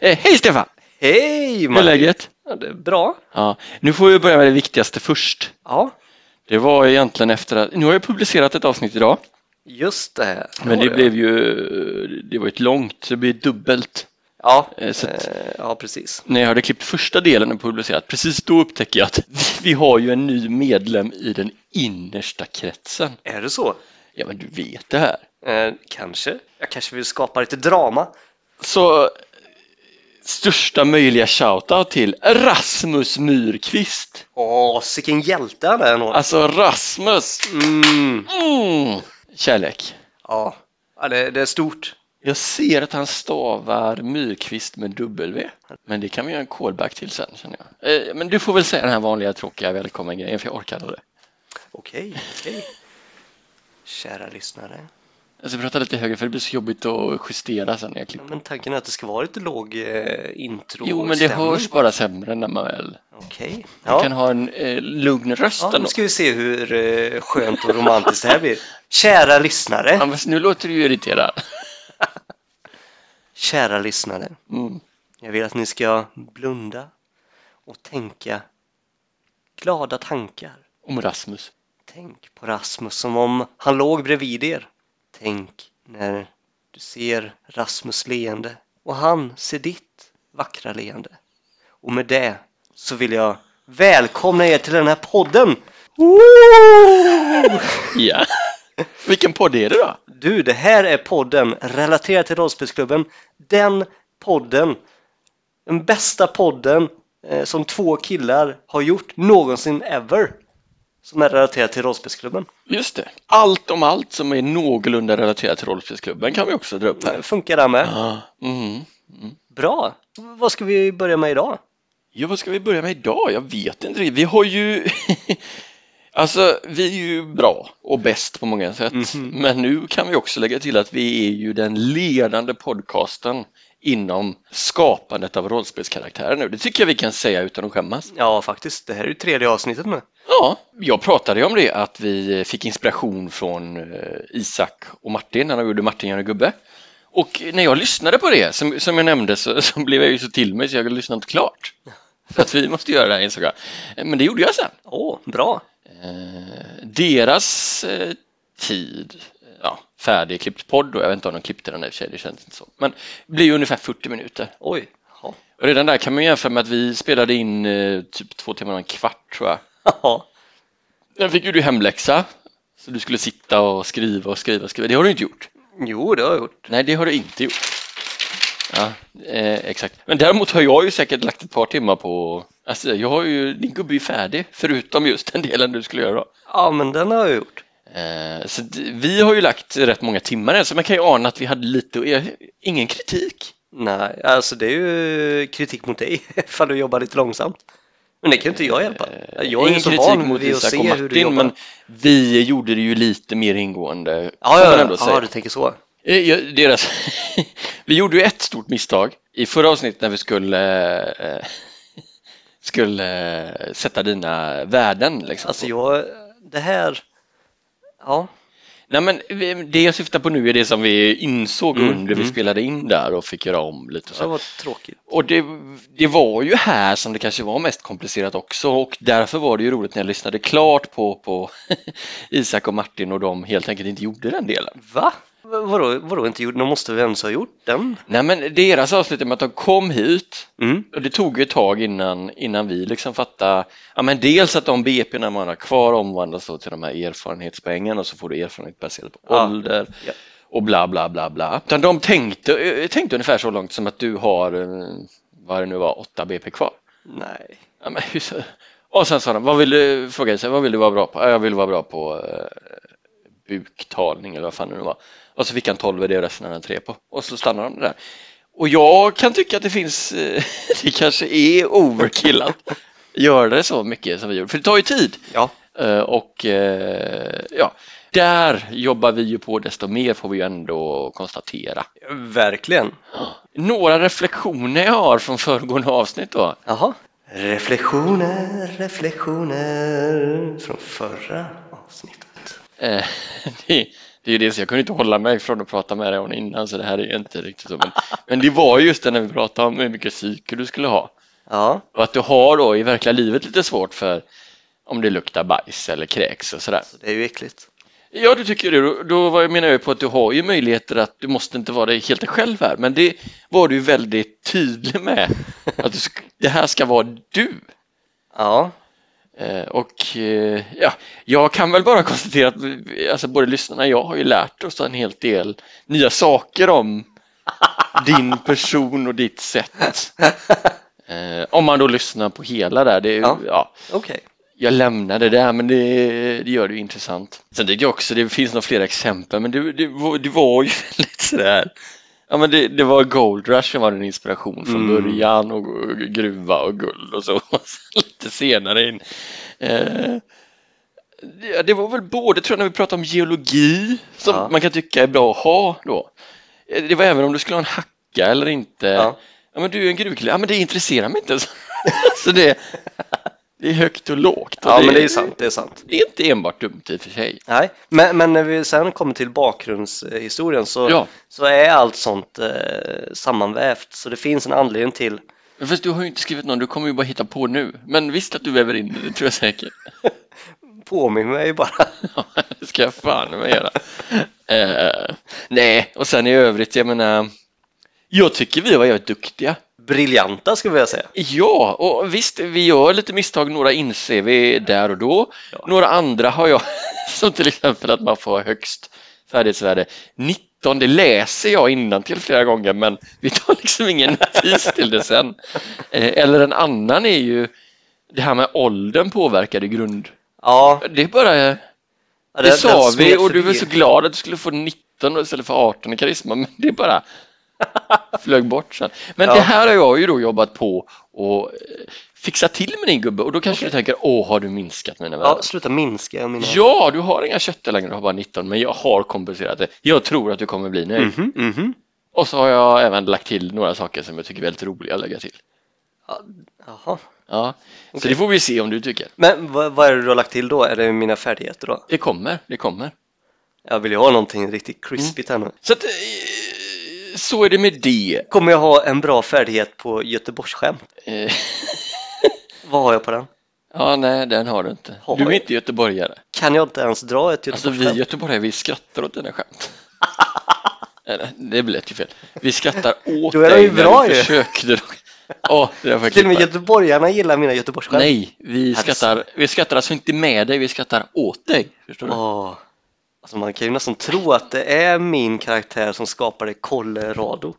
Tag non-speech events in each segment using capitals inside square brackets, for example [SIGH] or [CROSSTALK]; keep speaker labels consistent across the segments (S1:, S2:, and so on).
S1: Eh, hej Stefan!
S2: Hej
S1: Hur är läget?
S2: Ja, det är bra.
S1: Ja, nu får vi börja med det viktigaste först.
S2: Ja,
S1: Det var egentligen efter att, nu har jag publicerat ett avsnitt idag,
S2: just det.
S1: men
S2: var
S1: det blev ju, det var ett långt, så det blev dubbelt.
S2: Ja,
S1: Eh, så att-
S2: eh, ja precis.
S1: När jag hade klippt första delen och publicerat, precis då upptäcker jag att [LAUGHS] vi har ju en ny medlem i den innersta kretsen.
S2: Är det så?
S1: Ja, men du vet det här.
S2: Eh, kanske. Jag kanske vill skapa lite drama.
S1: Så största möjliga shoutout till Rasmus Myrkvist.
S2: Åh, sicken hjälte han är ändå.
S1: Alltså Rasmus!
S2: Mm.
S1: Mm. Kärlek.
S2: Ja, ja det, det är stort.
S1: Jag ser att han stavar Myrkvist med W. Men det kan vi göra en callback till sen känner jag. Eh, Men du får väl säga den här vanliga tråkiga välkommen-grejen för jag orkar aldrig.
S2: Okej, okej. Kära lyssnare.
S1: Jag ska prata lite högre för det blir så jobbigt att justera sen när jag
S2: Ja,
S1: klipper.
S2: Men tanken är att det ska vara lite låg eh, intro
S1: Jo men det
S2: stämning.
S1: hörs bara sämre när man väl
S2: Okej.
S1: man
S2: Ja.
S1: kan ha en eh, lugn röst
S2: ja, nu
S1: ändå.
S2: ska vi se hur eh, skönt och romantiskt det här blir. Kära lyssnare.
S1: Ja, men nu låter du ju irriterad.
S2: Kära lyssnare.
S1: Mm.
S2: Jag vill att ni ska blunda och tänka glada tankar.
S1: Om Rasmus.
S2: Tänk på Rasmus som om han låg bredvid er. Tänk när du ser Rasmus leende och han ser ditt vackra leende. Och med det så vill jag välkomna er till den här podden!
S1: Ja. [LAUGHS] Vilken podd är det då?
S2: Du, det här är podden relaterad till rollspelsklubben. Den podden, den bästa podden eh, som två killar har gjort någonsin ever. Som är relaterad till rollspelsklubben.
S1: Just det. Allt om allt som är någorlunda relaterat till rollspelsklubben kan vi också dra upp här.
S2: Eh, Funkar det med?
S1: Ja. Mm.
S2: Bra! Vad ska vi börja med idag?
S1: Ja, vad ska vi börja med idag? Jag vet inte riktigt. Vi har ju... [LAUGHS] alltså, vi är ju bra och bäst på många sätt.
S2: Mhm.
S1: Men nu kan vi också lägga till att vi är ju den ledande podcasten inom skapandet av rollspelskaraktärer nu. Det tycker jag vi kan säga utan att skämmas.
S2: Ja, faktiskt. Det här är ju tredje avsnittet nu.
S1: Ja, jag pratade ju om det att vi fick inspiration från eh, Isak och Martin när de gjorde Martin gör en gubbe. Och när jag lyssnade på det, som, som jag nämnde, så, så blev jag ju så till mig så jag lyssnade inte klart. För att vi måste göra det här insåg jag. Men det gjorde jag sen.
S2: Åh, bra!
S1: Eh, deras eh, tid, ja, färdigklippt podd och jag vet inte om de klippte den i och för sig, det känns inte så. Men det blir ju ungefär 40 minuter.
S2: Oj! Ja.
S1: Och redan där kan man ju jämföra med att vi spelade in eh, typ två timmar och en kvart tror jag.
S2: [LAUGHS] Ja.
S1: Den fick ju du hemläxa. Så du skulle sitta och skriva och skriva och skriva. Det har du inte gjort.
S2: Jo, det har jag gjort.
S1: Nej, det har du inte gjort. Ja, eh, exakt. Men däremot har jag ju säkert lagt ett par timmar på... Alltså, jag har ju... Din gubbe är ju färdig, förutom just den delen du skulle göra då.
S2: Ja, men den har jag gjort.
S1: Eh, så d- vi har ju lagt rätt många timmar än, så man kan ju ana att vi hade lite... eh, Ingen kritik.
S2: Nej, alltså det är ju kritik mot dig [LAUGHS] ifall du jobbar lite långsamt. Men det kan ju inte jag hjälpa. Jag
S1: Eh,
S2: är ju
S1: ingen
S2: så
S1: kritik
S2: van
S1: mot
S2: vid att
S1: Isak och
S2: se hur du
S1: Martin,
S2: jobbar.
S1: men vi gjorde det ju lite mer ingående.
S2: Ja,
S1: kan man
S2: ja,
S1: ändå
S2: ja,
S1: säga.
S2: ja, du tänker så.
S1: Eh, ja, Deras... [LAUGHS] vi gjorde ju ett stort misstag i förra avsnittet när vi skulle, eh, skulle eh, sätta dina värden. Liksom.
S2: Alltså jag, det här, ja,
S1: Nej, men vi- det jag syftar på nu är det som vi insåg
S2: Mm,
S1: under vi
S2: mm.
S1: spelade in där och fick göra om lite. och
S2: det
S1: Så.
S2: var tråkigt.
S1: Och det, det var ju här som det kanske var mest komplicerat också och därför var det ju roligt när jag lyssnade klart på, på [LAUGHS] Isak och Martin och de helt enkelt inte gjorde den delen.
S2: Va? V- Vadå, vadå inte gjort? De måste vi ens ha gjort den?
S1: Nej men deras avslut är med att de kom hit
S2: Mm.
S1: Och det tog ju ett tag innan, innan vi liksom fattade, ja men dels att de BP när man har kvar omvandlas då till de här erfarenhetspoängen och så får du erfarenhet baserat på
S2: Ja.
S1: ålder
S2: Ja.
S1: och bla bla bla bla. Utan de tänkte, eh, tänkte ungefär så långt som att du har, eh, vad det nu var, 8 BP kvar.
S2: Nej.
S1: Ja, men, hur så- och sen sa de, vad vill du, frågade sig, vad vill du vara bra på? Ja, Jag vill vara bra på eh, buktalning eller vad fan det nu var. Och så fick han 12 i det och resten hade han 3 på. Och så stannade de där. Och jag kan tycka att det finns, eh, [LAUGHS] det kanske är overkill att göra det så mycket som vi gjorde. För det tar ju tid.
S2: Ja.
S1: Eh, och eh, ja, där jobbar vi ju på desto mer får vi ju ändå konstatera.
S2: Verkligen.
S1: Några reflektioner jag har från föregående avsnitt då.
S2: Jaha. Reflektioner, reflektioner från förra avsnittet.
S1: Eh, [LAUGHS] det, Det är ju det, så jag kunde inte hålla mig från att prata med dig om det innan så det här är ju inte riktigt så. Men, men det var just det när vi pratade om hur mycket psyke du skulle ha.
S2: Ja,
S1: Och att du har då i verkliga livet lite svårt för om det luktar bajs eller kräks och sådär.
S2: så det är ju äckligt.
S1: Ja, du tycker det. Då- Då var jag- menar jag på att du har ju möjligheter att du måste inte vara dig helt dig själv här. Men det var du ju väldigt tydlig med. Att du, sk- det här ska vara du.
S2: Ja, [LAUGHS]
S1: Eh, och eh, ja, jag kan väl bara konstatera att vi- vi- alltså, både lyssnarna och jag har ju lärt oss en hel del nya saker om din person och ditt sätt. Eh, om man då lyssnar på hela där. Det, är ju-
S2: Ja.
S1: Ja,
S2: okej.
S1: jag lämnar det där men det, det gör det ju intressant. Sen tycker jag också det finns några fler exempel men det, det, var- det var ju [LAUGHS] väldigt sådär. Ja men det, det var Gold Rush som var en inspiration från
S2: Mm.
S1: början och, och gruva och guld och så. [LAUGHS] Och sen Lite senare in. Eh, det, det var väl både tror jag när vi pratade om geologi som
S2: Ja.
S1: man kan tycka är bra att ha då. Eh, Det var även om du skulle ha en hacka eller inte.
S2: Ja.
S1: Ja, men du är en gruvkille. Ja men det intresserar mig inte. [LAUGHS] så det, det är högt och lågt. Och
S2: Ja, men det är sant, det är sant.
S1: Det är inte enbart dumt i och för sig.
S2: Nej, men, men när vi sen kommer till bakgrundshistorien så,
S1: Ja.
S2: så är allt sånt eh, sammanvävt. Så det finns en anledning till
S1: Men Fast du har ju inte skrivit någon, du kommer ju bara hitta på nu. Men visst att du väver in det, det tror jag säkert. [LAUGHS]
S2: Påminn mig bara. [LAUGHS]
S1: Ja, det ska jag fan med göra. Eh, nej, och sen i övrigt, jag menar, jag tycker vi var jävligt duktiga.
S2: Briljanta skulle jag säga.
S1: Ja, och visst, vi gör lite misstag, några inser vi där och då.
S2: Ja.
S1: Några andra har jag, [LAUGHS] som till exempel att man får högst färdighetsvärde 19, det läser jag innan till flera gånger men vi tar liksom ingen notis till det sen. Eh, Eller en annan är ju det här med åldern påverkade grund.
S2: Ja,
S1: Det är bara, det,
S2: ja,
S1: sa
S2: smet
S1: vi och du
S2: förbi.
S1: var så glad att du skulle få 19 istället för 18 i karisma [LAUGHS] men det är bara flög bort sen. Men
S2: Ja.
S1: det här har jag ju då jobbat på och eh, fixat till med din gubbe och då kanske du tänker åh har du minskat mina värden?
S2: Ja, sluta minska mina...
S1: Ja, du har inga köttar längre, du har bara 19, men jag har kompenserat det. Jag tror att du kommer bli nöjd.
S2: Mhm, mhm.
S1: Och så har jag även lagt till några saker som jag tycker är väldigt roliga att lägga till.
S2: Ja, Jaha.
S1: Ja, så
S2: Okej.
S1: det får vi se om du tycker.
S2: Men vad, vad är det du har lagt till då? Är det mina färdigheter då?
S1: Det kommer, det kommer.
S2: Jag vill ju ha någonting riktigt krispigt här nu.
S1: Så att, eh, så är det med det.
S2: Kommer jag ha en bra färdighet på göteborgsskämt?
S1: Eh,
S2: Vad har jag på den?
S1: Ja, nej, den har du inte.
S2: Har
S1: Du är
S2: jag?
S1: inte göteborgare.
S2: Kan jag inte ens dra ett
S1: Alltså vi
S2: göteborgsskämt?
S1: göteborgare, vi skrattar åt dina skämt. [LAUGHS] Eller, Det lät ju fel. Vi
S2: [LAUGHS]
S1: skrattar åt
S2: Då är de
S1: dig
S2: ju
S1: när
S2: bra
S1: du
S2: ju. [LAUGHS]
S1: försökte. Åh, det där får jag
S2: Till och med
S1: klippa.
S2: göteborgarna gillar mina göteborgsskämt.
S1: Nej, vi
S2: Alltså.
S1: skrattar, vi skrattar alltså inte med dig, vi skrattar åt dig. Förstår du?
S2: Åh. Alltså man kan ju nästan tro att det är min karaktär som skapade Colorado.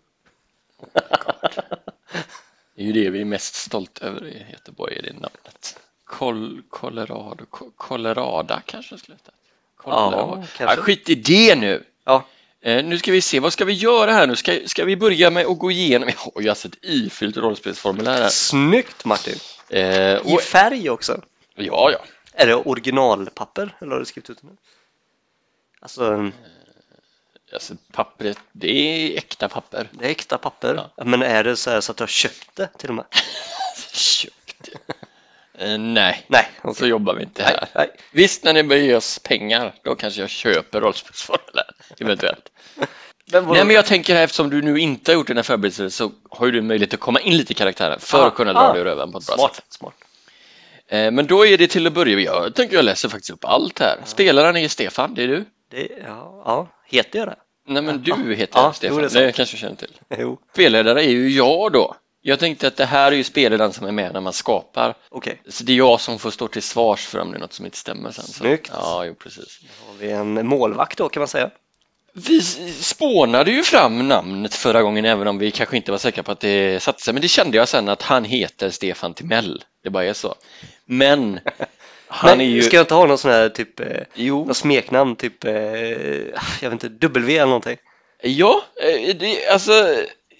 S1: Det är ju det vi är mest stolta över i Göteborg, är det namnet. Col Colorado, Co- Colorada kanske jag skulle heta. Colorado.
S2: kanske.
S1: Ja, skit i det nu!
S2: Ja.
S1: Eh, nu ska vi se, vad ska vi göra här nu? Ska, ska vi börja med att gå igenom, vi har ju alltså ett ifyllt rollspelsformulär här.
S2: Snyggt Martin!
S1: Eh,
S2: I
S1: och,
S2: färg också.
S1: ja, ja.
S2: Är det originalpapper eller har du skrivit ut det nu? Alltså,
S1: Alltså, pappret, det är äkta papper.
S2: det är äkta papper. Men är det så här så att jag köpt det till och med?
S1: Köpt. Eh, nej,
S2: Nej, okej.
S1: så jobbar vi inte
S2: Nej,
S1: här.
S2: nej.
S1: Visst, när ni börjar ge oss pengar, då kanske jag köper
S2: [LAUGHS]
S1: rollspelsformulär, eventuellt.
S2: Men vadå?
S1: Nej, men jag tänker här, eftersom du nu inte har gjort dina förberedelser så har ju du möjlighet att komma in lite i karaktären för
S2: Ah,
S1: att kunna dra
S2: ah.
S1: dig ur röven på ett bra sätt.
S2: Smart, smart.
S1: Eh, Men då är det till att börja med, jag tänker jag läser faktiskt upp allt här. Spelaren är Stefan, det är du.
S2: Det, ja, ja, heter jag det?
S1: Nej, men
S2: Ah,
S1: du heter
S2: ah, jo,
S1: Stefan,
S2: det är
S1: det,
S2: sant.
S1: kanske du känner till.
S2: Jo,
S1: Spelledare är ju jag då. Jag tänkte att det här är ju spelledaren som är med när man skapar.
S2: okej.
S1: Så det är jag som får stå till svars för om det är något som inte stämmer sen. Så.
S2: Snyggt.
S1: Ja, jo, precis.
S2: Då har vi en målvakt då kan man säga.
S1: Vi spånade ju fram namnet förra gången även om vi kanske inte var säkra på att det satte sig. Men det kände jag sen att han heter Stefan Timell. Det bara är så.
S2: [LAUGHS]
S1: Men han
S2: men,
S1: är ju...
S2: Ska jag inte ha någon sån här typ, eh,
S1: Jo,
S2: någon smeknamn typ, eh, jag vet inte, W eller någonting?
S1: ja, eh, det, alltså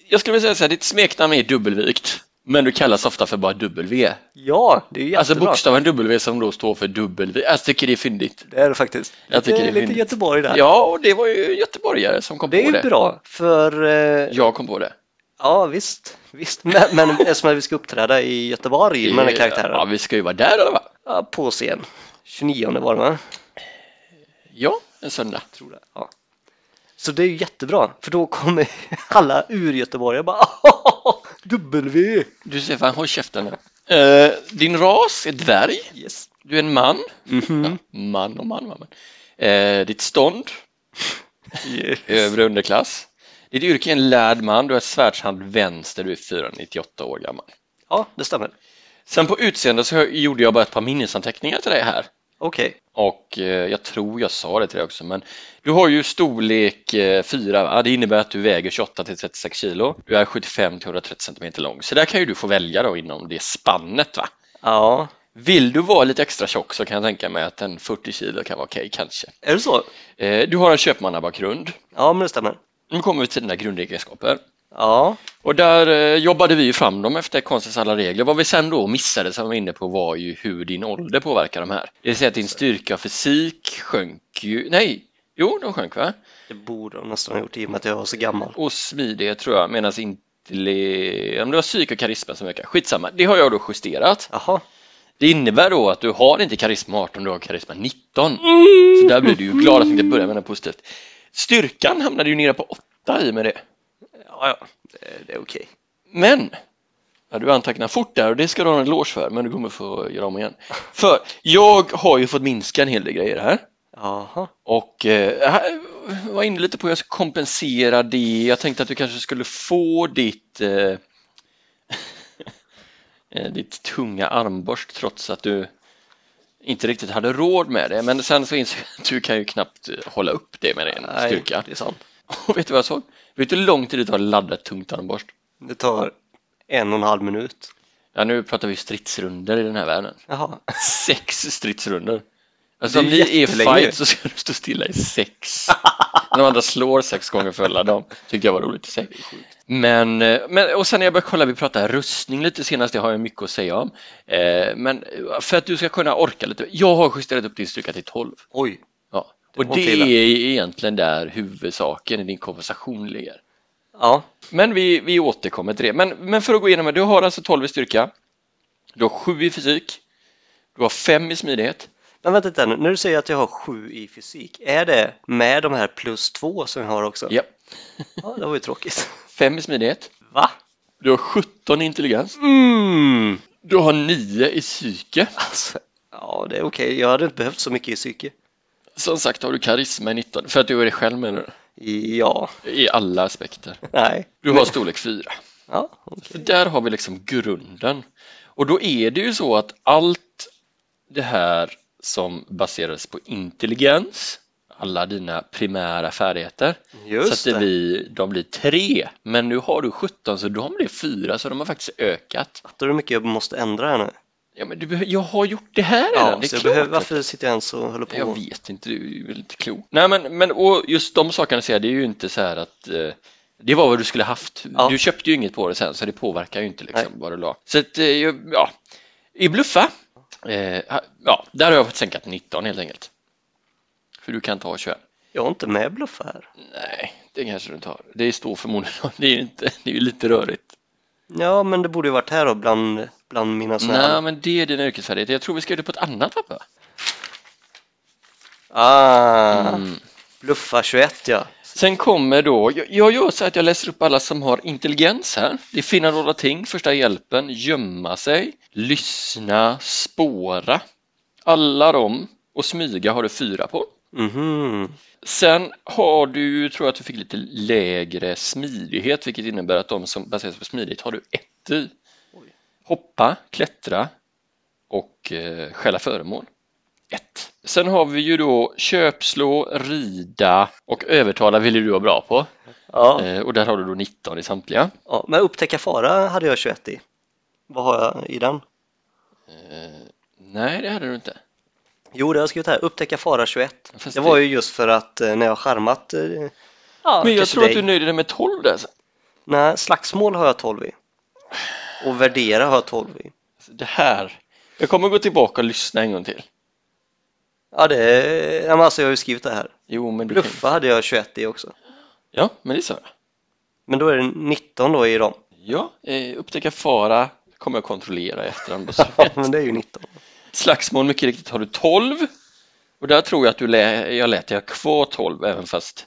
S1: jag skulle vilja säga så här, ditt smeknamn är dubbelvikt. Men du kallas ofta för bara W.
S2: Ja, det är ju
S1: Alltså
S2: jättebra.
S1: bokstaven W som då står för dubbel. Jag tycker det är fyndigt.
S2: det är det faktiskt.
S1: Jag tycker det är
S2: lite, lite
S1: fint.
S2: Göteborg där.
S1: Ja, och det var ju göteborgare som kom
S2: det
S1: på
S2: är
S1: det.
S2: ju bra för, eh,
S1: Jag kom på det.
S2: ja visst, visst. Men,
S1: [LAUGHS]
S2: men eftersom att vi ska uppträda i Göteborg med den här karaktären
S1: Ja, vi ska ju vara där i alla fall.
S2: ja, på scen. 29 var det va?
S1: Ja, en söndag.
S2: tror det. Ja. Så det är ju jättebra, för då kommer [LAUGHS] alla ur Göteborg och bara [LAUGHS] "Ahaha, W!
S1: Du Stefan, håll käften nu. Eh, din ras är dvärg.
S2: Yes.
S1: Du är en man.
S2: Mhm.
S1: Man och man, man. man. Eh, ditt stånd, övre underklass. Ditt yrke är en lärd man. Du är svärdshand vänster. Du är 498 år gammal.
S2: Ja, det stämmer.
S1: Sen på utseende så gjorde jag bara ett par minnesanteckningar till dig här.
S2: Okej.
S1: Och eh, jag tror jag sa det till dig också, men du har ju storlek 4. Ja, det innebär att du väger 28 till 36 kilo. Du är 75 till 130 centimeter lång, så där kan ju du få välja då inom det spannet. va?
S2: Ja,
S1: Vill du vara lite extra tjock så kan jag tänka mig att en 40 kilo kan vara okej kanske.
S2: är det så?
S1: Eh, Du har en köpmannabakgrund.
S2: Ja, men det stämmer.
S1: Nu kommer vi till dina grundegenskaper.
S2: Ja,
S1: Och där eh, jobbade vi ju fram dem efter konstens alla regler. Vad vi sen då missade som vi var inne på var ju hur din ålder påverkar de här. Det vill säga att din styrka och fysik sjönk ju, nej, jo de sjönk va?
S2: det borde de nästan ha gjort i och med att jag var så gammal.
S1: Och smidighet tror jag, medan intelli... om det var psyk och karisma som ökar. Skitsamma, det har jag då justerat.
S2: Jaha.
S1: Det innebär då att du har inte karisma 18, du har karisma 19. Så där blir du ju glad att inte börja med något positivt. Styrkan hamnade ju nere på 8 i och med det.
S2: Ja, ja, det det är okej.
S1: Men! Ja, du antecknar fort där och det ska du ha en eloge för, men du kommer få göra om igen. För jag har ju fått minska en hel del grejer här.
S2: Jaha.
S1: Och eh, här var inne lite på hur jag ska kompensera det. Jag tänkte att du kanske skulle få ditt, eh, [LAUGHS] eh, ditt tunga armborst trots att du inte riktigt hade råd med det. Men sen så insåg jag att du kan ju knappt eh, hålla upp det med din
S2: Nej,
S1: styrka.
S2: Det är sant.
S1: [LAUGHS] Och vet du vad jag såg? Vet du hur lång tid det tar att ladda ett tungt armborst?
S2: Det tar en och en halv minut.
S1: Ja, nu pratar vi stridsrunder i den här världen.
S2: Jaha.
S1: Sex stridsrunder. Alltså
S2: Det är
S1: om vi är i
S2: jättelänge.
S1: fight så ska du stå stilla i sex. När de andra slår sex gånger för alla dem. Tyckte jag var roligt i sig. Men, eh, men, och sen när jag började kolla, vi pratade rustning lite senast, det har jag mycket att säga om. Eh, men för att du ska kunna orka lite, jag har justerat upp din styrka till 12.
S2: Oj.
S1: Ja. Och
S2: var
S1: det
S2: illa.
S1: är egentligen där huvudsaken i din kompensation ligger.
S2: Ja,
S1: Men vi, vi återkommer till det. Men, men för att gå igenom det, du har alltså 12 i styrka. Du har 7 i fysik. Du har 5 i smidighet.
S2: men vänta lite nu. När du säger att jag har sju i fysik, är det med de här plus två som jag har också?
S1: Ja.
S2: Ja, det var ju tråkigt.
S1: 5 i smidighet.
S2: Va?
S1: Du har 17 i intelligens.
S2: Mm.
S1: Du har 9 i psyke.
S2: Alltså, ja, det är okej. Jag hade inte behövt så mycket i psyke.
S1: Som sagt har du karisma i 19, för att du är dig själv menar
S2: Ja,
S1: du? I alla aspekter.
S2: nej.
S1: Du har storlek 4.
S2: Ja, okej.
S1: Så där har vi liksom grunden. Och då är det ju så att allt det här som baseras på intelligens, alla dina primära färdigheter, så
S2: Just
S1: att det
S2: det.
S1: blir, de blir tre, men nu har du 17 så de blir fyra så de har faktiskt ökat.
S2: Fattar du hur mycket jag måste ändra här nu?
S1: Ja, men du, behö- jag har gjort det här redan,
S2: Ja,
S1: det
S2: så
S1: är
S2: jag
S1: klart.
S2: behöver, varför sitter jag ens och håller på?
S1: Jag vet inte, du är väl lite klok. Nej, men, men och just de sakerna säger jag, det är ju inte så här att eh, det var vad du skulle haft.
S2: Ja.
S1: Du köpte ju inget på det sen så det påverkar ju inte liksom
S2: Nej.
S1: vad du la. Så att, eh, jag- ja, i bluffa, eh, ha- ja, där har jag fått sänka till 19 helt enkelt. För du kan ta 21.
S2: Jag är inte med bluffa här.
S1: Nej, det kanske du inte har. Det står förmodligen, [LAUGHS] det är ju inte, det är ju lite rörigt.
S2: Ja, men det borde ju varit här då, bland, bland mina såna
S1: Nej,
S2: här.
S1: men det är dina yrkesfärdigheter. Jag tror vi ska göra det på ett annat papper.
S2: Ah,
S1: Mm.
S2: bluffa 21 ja.
S1: Sen kommer då, jag, jag gör så att jag läser upp alla som har intelligens här. Det är finna några ting, första hjälpen, gömma sig, lyssna, spåra. Alla dem och smyga har du fyra på.
S2: Mhm.
S1: Sen har du, tror jag att du fick lite lägre smidighet, vilket innebär att de som baseras på smidighet har du ett i.
S2: Oj.
S1: Hoppa, klättra och eh, stjäla föremål. Ett. Sen har vi ju då köpslå, rida och övertala vill ju du vara bra på.
S2: Ja,
S1: Eh, och där har du då 19 i samtliga.
S2: ja, men upptäcka fara hade jag 21 i. Vad har jag i den?
S1: Eh, Nej, det hade du inte.
S2: Jo, det har jag skrivit här. Upptäcka fara 21.
S1: Fast
S2: det
S1: det-
S2: var ju just för att eh, när jag har charmat eh, ja,
S1: Men jag
S2: kanske
S1: tror att
S2: dig.
S1: du nöjde dig med 12 där. sen.
S2: Nej, slagsmål har jag 12 i. Och värdera har jag 12 i.
S1: Alltså, det här. Jag kommer gå tillbaka och lyssna en gång till.
S2: Ja, det är... ja, men Alltså, jag har ju skrivit det här.
S1: Jo, men du kan...
S2: Bluffa hade jag 21 i också.
S1: Ja, men det sa jag.
S2: Men då är det 19
S1: [LAUGHS]
S2: då i dem.
S1: Ja, eh, upptäcka fara kommer
S2: [LAUGHS]
S1: jag kontrollera i efterhand.
S2: Ja, men det är ju 19.
S1: Slagsmål mycket riktigt har du 12. Och där tror jag att du lä- jag lät dig ha kvar 12 även fast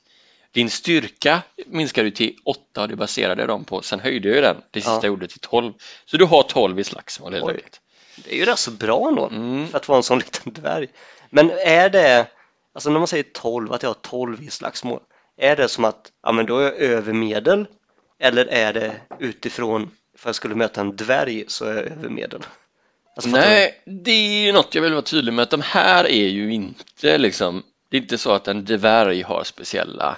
S1: din styrka minskade ju till 8 och du baserade dem på, sen höjde jag ju den, det sista
S2: Ja.
S1: jag gjorde till 12. Så du har 12 i slagsmål helt
S2: Oj.
S1: enkelt.
S2: Det är ju rätt så bra ändå
S1: Mm.
S2: för att vara en sån liten dvärg. Men är det, alltså när man säger 12, att jag har 12 i slagsmål, är det som att ja, men då är jag övermedel eller är det utifrån för jag skulle möta en dvärg så är jag övermedel? Alltså, fattar du?
S1: Nej, det är ju något jag vill vara tydlig med att de här är ju inte liksom, det är inte så att en dvärg har speciella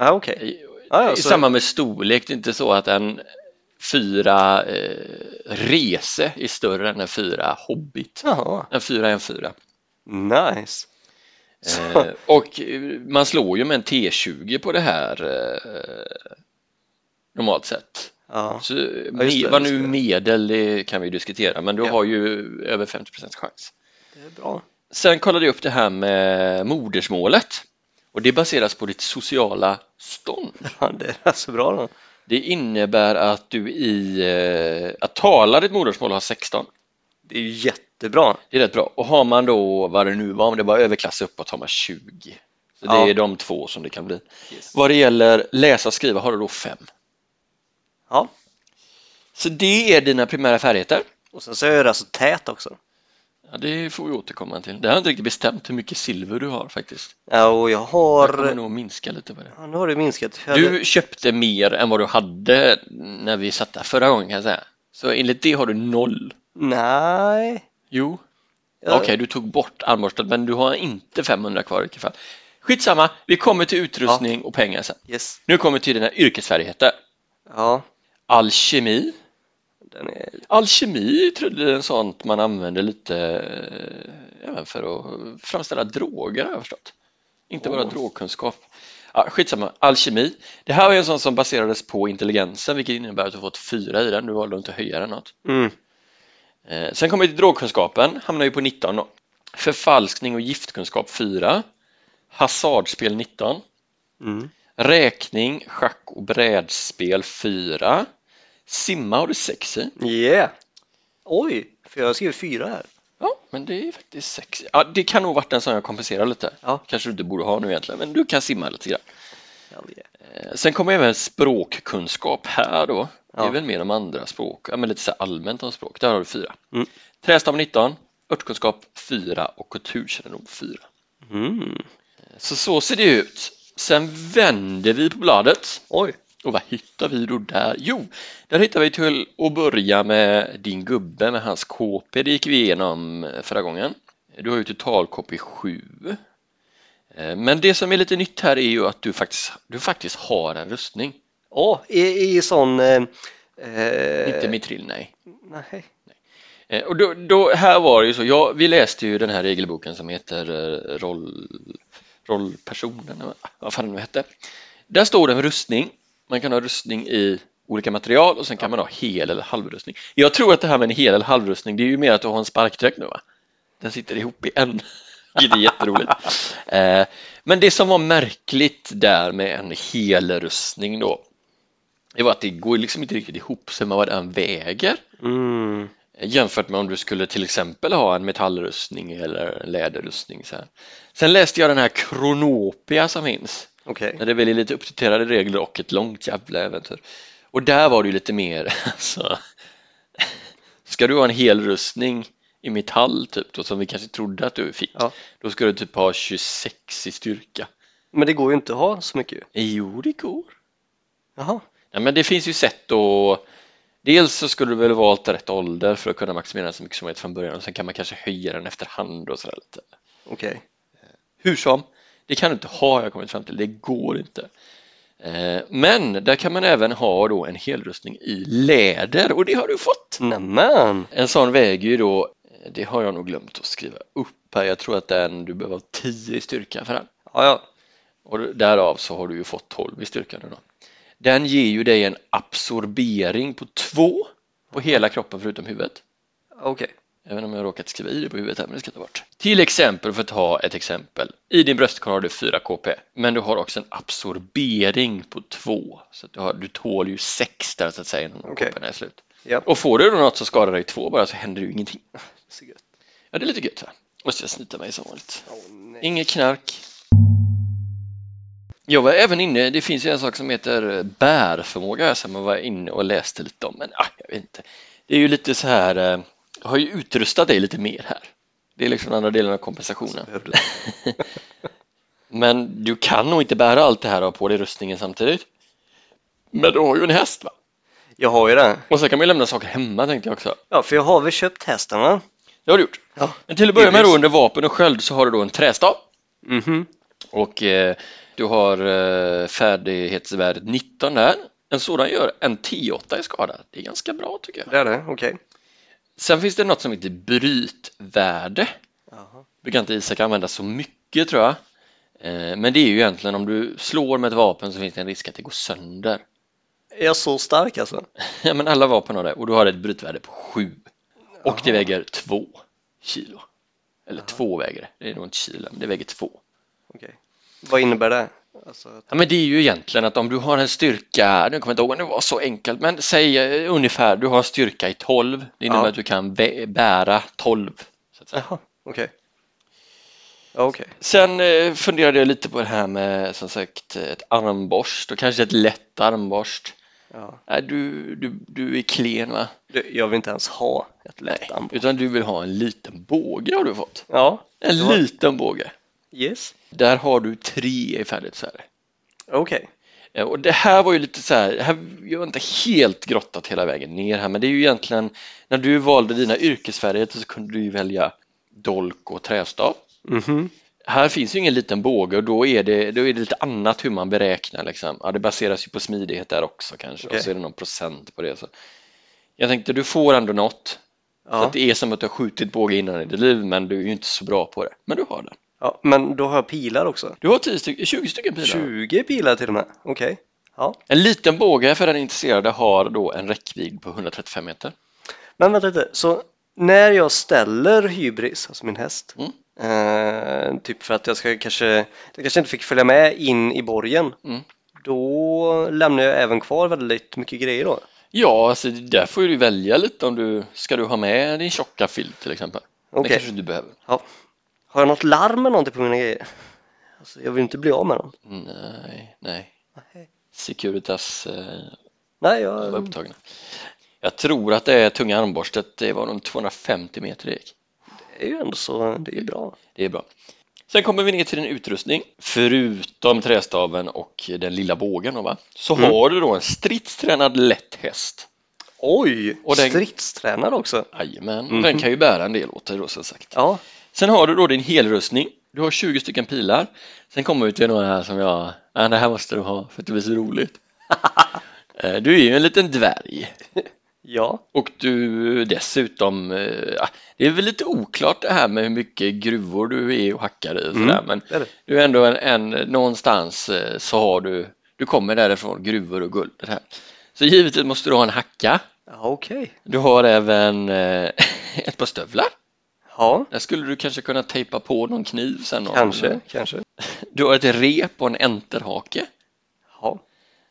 S2: Ja, Ah, okej.
S1: I,
S2: Ja, alltså- ja,
S1: i
S2: så-
S1: samband med storlek, det är inte så att en fyra eh, rese är större än en fyra hobbit.
S2: Jaha,
S1: En fyra är en fyra.
S2: nice. Så,
S1: Eh, och eh, man slår ju med en T20 på det här eh, normalt sett.
S2: [LAUGHS] ja,
S1: Så,
S2: just det,
S1: med, vad
S2: just
S1: nu
S2: det.
S1: medel det kan vi ju diskutera, men du
S2: Ja.
S1: har ju över 50 chans.
S2: det är bra. [LAUGHS]
S1: Sen kollade jag upp det här med modersmålet och det baseras på ditt sociala stånd.
S2: Ja, det är rätt så bra då.
S1: Det innebär att du i eh, att tala ditt modersmål har 16.
S2: Det är ju jättebra.
S1: Det är rätt bra. Och har man då vad det nu var, om det var överklass uppåt har man 20. Så det
S2: Ja.
S1: är de två som det kan bli.
S2: Yes.
S1: Vad det gäller läsa och skriva har du då 5.
S2: Ja,
S1: Så det är dina primära färdigheter.
S2: och sen så är jag rätt så tät också.
S1: Ja, det får vi återkomma till. Det har jag inte riktigt bestämt hur mycket silver du har faktiskt.
S2: Ja, och jag
S1: Jag kommer
S2: har...
S1: nog minska lite på det.
S2: Ja, nu har det minskat. Jag hade-
S1: Du köpte mer än vad du hade när vi satt där förra gången kan jag säga. Så enligt det har du noll.
S2: Nej.
S1: Jo,
S2: Jag-
S1: Okej, du tog bort armborstet, men du har inte 500 kvar i vilket fall. Skitsamma, vi kommer till utrustning och pengar sen.
S2: Yes.
S1: Nu kommer vi till dina yrkesfärdigheter.
S2: Ja,
S1: Alkemi.
S2: den är...
S1: Alkemi trodde jag är sånt man använder lite eh, även för att framställa droger har jag förstått. Inte bara
S2: Åh.
S1: drogkunskap. Ja, skitsamma, alkemi. Det här var ju en sån som baserades på intelligensen, vilket innebär att du fått fyra i den. Du valde att inte höja den något.
S2: Mm.
S1: Eh, Sen kommer vi till drogkunskapen, hamnar ju på 19 då. Förfalskning och giftkunskap 4. Hasardspel 19.
S2: Mm.
S1: Räkning, schack och brädspel 4. Simma har du 6 i.
S2: Yeah. Oj, för jag skrev fyra här.
S1: Ja, men det är faktiskt 6 ja, Det kan nog varit en som jag kompenserar lite.
S2: Ja.
S1: Kanske du inte borde ha nu egentligen, men du kan simma lite grann.
S2: Ja, yeah.
S1: Eh, Sen kommer även språkkunskap här då. Det
S2: Ja.
S1: är väl mer om andra språk, ja, men lite så här allmänt om språk. Där har du 4.
S2: Mm.
S1: Trästam 19. Örtkunskap 4 och kulturkännedom 4.
S2: Mm.
S1: Så så ser det ut. Sen vänder vi på bladet.
S2: Oj.
S1: Och vad hittar vi då där? Jo, där hittar vi till att börja med din gubbe med hans KP. Det gick vi igenom eh, förra gången. Du har ju total KP 7. Eh, Men det som är lite nytt här är ju att du faktiskt, du faktiskt har en rustning.
S2: Åh, i, i sån... Eh, eh,
S1: Inte mitrill, nej.
S2: Nej.
S1: Eh, Och då, då, här var det ju så, ja, vi läste ju den här regelboken som heter eh, roll, rollpersonen, va? vad fan den nu hette. Där står det om rustning, man kan ha rustning i olika material och sen kan man ha hel eller halvrustning. Jag tror att det här med en hel eller halvrustning, det är ju mer att du har en sparkdräkt nu va? Den sitter ihop i en, [LAUGHS] vilket är jätteroligt. Eh, Men det som var märkligt där med en hel rustning då, det var att det går liksom inte riktigt ihop sig med vad den väger.
S2: Mm.
S1: Jämfört med om du skulle till exempel ha en metallrustning eller en läderrustning. Så här. Sen läste jag den här Kronopia som finns.
S2: Okej.
S1: Där det väl är lite uppdaterade regler och ett långt jävla äventyr. Och där var det ju lite mer [LAUGHS] alltså. Ska du ha en hel rustning i metall typ då, som vi kanske trodde att du fick.
S2: Ja.
S1: Då ska du typ ha 26 i styrka.
S2: Men det går ju inte att ha så mycket ju.
S1: Jo, det går.
S2: Jaha.
S1: Ja, men det finns ju sätt att Dels så skulle du väl valt rätt ålder för att kunna maximera så mycket som möjligt från början och sen kan man kanske höja den efterhand och sådär lite.
S2: Okej.
S1: Hur som, det kan du inte ha har jag kommit fram till, det går inte. Eh, Men där kan man även ha då en helrustning i läder och det har du fått.
S2: Nämen.
S1: En sån väger ju då, eh, det har jag nog glömt att skriva upp här, jag tror att den, du behöver ha 10 i styrka för den.
S2: Ja, ja.
S1: Och därav så har du ju fått 12 i styrka nu då. Den ger ju dig en absorbering på 2 på hela kroppen förutom huvudet.
S2: Okej.
S1: Även om jag har råkat skriva i det på huvudet här, men det ska jag ta bort. Till exempel, för att ta ett exempel. I din bröstkorg har du 4 KP, men du har också en absorbering på 2. Så att du, har, du tål ju 6 där så att säga innan
S2: Okej.
S1: KP är slut.
S2: Ja.
S1: Och får du då något som skadar dig 2 bara så händer ju ingenting.
S2: Så gött.
S1: Ja, det är lite gött va? Måste jag snyta mig som vanligt.
S2: Åh, Nej.
S1: Inget knark. Jag var även inne, det finns ju en sak som heter bärförmåga som jag var inne och läste lite om, men ah, jag vet inte. Det är ju lite så här, eh, jag har ju utrustat dig lite mer här. Det är liksom den andra delen av kompensationen. [LAUGHS] Men du kan nog inte bära allt det här och ha på dig rustningen samtidigt. Men du har ju en häst va?
S2: Jag har ju den.
S1: Och så kan man ju lämna saker hemma tänkte jag också.
S2: Ja, för jag har väl köpt hästen va?
S1: Det har du gjort.
S2: Ja.
S1: Men till att börja med då
S2: Delvis.
S1: under vapen och sköld så har du då en trästav
S2: Mhm.
S1: och eh, du har eh, färdighetsvärdet 19 där. En sådan gör en 10-8 i skada. Det är ganska bra tycker jag.
S2: Det är det, okej.
S1: Sen finns det något som heter brytvärde.
S2: Jaha.
S1: brukar inte Isak använda så mycket tror jag. Eh, Men det är ju egentligen om du slår med ett vapen så finns det en risk att det går sönder. [LAUGHS]
S2: Är jag så stark alltså?
S1: Ja, men alla vapen har det och du har ett brytvärde på 7. Och det väger 2 kilo. Eller 2 väger det, det är nog inte kilo, men det väger 2.
S2: Okej. Vad innebär det? Alltså, att-
S1: Ja, men det är ju egentligen att om du har en styrka, nu kommer jag inte ihåg om det var så enkelt, men säg eh, ungefär du har en styrka i 12, det innebär
S2: Ja.
S1: att du kan vä- bära 12. Så att säga.
S2: Jaha, okej. Ja, okej.
S1: Sen eh, funderade jag lite på det här med som sagt ett armborst och kanske ett lätt armborst.
S2: Ja.
S1: Nej, du, du, du är klen va?
S2: Du, jag vill inte ens ha ett lätt armbåge.
S1: Utan du vill ha en liten båge har du fått.
S2: Ja,
S1: En
S2: Det var-
S1: liten båge.
S2: yes.
S1: Där har du tre i färdighetsvärde.
S2: Okej.
S1: Eh, Och det här var ju lite så här, här, jag har inte helt grottat hela vägen ner här, men det är ju egentligen när du valde dina yrkesfärdigheter så kunde du ju välja dolk och trästav.
S2: Mhm.
S1: Här finns ju ingen liten båge och då är det, då är det lite annat hur man beräknar. Liksom. Ja, det baseras ju på smidighet där också kanske
S2: Okej.
S1: och så är det någon procent på det. Så. Jag tänkte du får ändå något. Så
S2: Ja.
S1: att det är som att du har skjutit båge innan i ditt liv men du är ju inte så bra på det. Men du har den.
S2: ja, men då har jag pilar också.
S1: Du har 10 stycken, 20 stycken pilar.
S2: 20 pilar till och med. Okej. Ja.
S1: En liten båge för den intresserade har då en räckvidd på 135 meter.
S2: Men vänta lite, så när jag ställer hybris, alltså min häst,
S1: Mm.
S2: eh, typ för att jag ska kanske, jag kanske inte fick följa med in i borgen,
S1: Mm.
S2: då lämnar jag även kvar väldigt mycket grejer då.
S1: Ja, alltså där får ju du välja lite om du ska du ha med din tjocka filt till exempel. Det
S2: Okej.
S1: kanske du behöver.
S2: Har jag något larm eller någonting på mina grejer? Alltså, jag vill inte bli av med dem.
S1: Nej, nej.
S2: Nej,
S1: Securitas eh,
S2: Nej,
S1: De var
S2: jag...
S1: upptagna. Jag tror att det är tunga armborstet, det var nog 250 meter det gick.
S2: det är ju ändå så, det är ju bra.
S1: Det är bra. Sen kommer vi ner till din utrustning. Förutom trästaven och den lilla bågen då, va? så
S2: Mm.
S1: har du då en stridstränad lätt häst.
S2: Oj,
S1: Och den-
S2: stridstränare också.
S1: Jajamän,
S2: Mhm.
S1: den kan ju bära en del åt dig då som sagt.
S2: Ja,
S1: Sen har du då din helrustning. Du har 20 stycken pilar. Sen kommer vi till några här som jag, ja, det här måste du ha för att det blir så
S2: [LAUGHS]
S1: roligt. Eh, du är ju en liten dvärg.
S2: ja,
S1: Och du dessutom, eh, ja, det är väl lite oklart det här med hur mycket gruvor du är och hackar i och sådär,
S2: Mm.
S1: men
S2: det är det.
S1: du är ändå en, en någonstans eh, så har du, du kommer därifrån gruvor och guld. Det här. Så givetvis måste du ha en hacka.
S2: Ja, okej.
S1: Du har även eh, [LAUGHS] ett par stövlar.
S2: Ja,
S1: Där skulle du kanske kunna tejpa på någon kniv sen. om-
S2: kanske, kanske.
S1: Du har ett rep och en enterhake.
S2: Ja.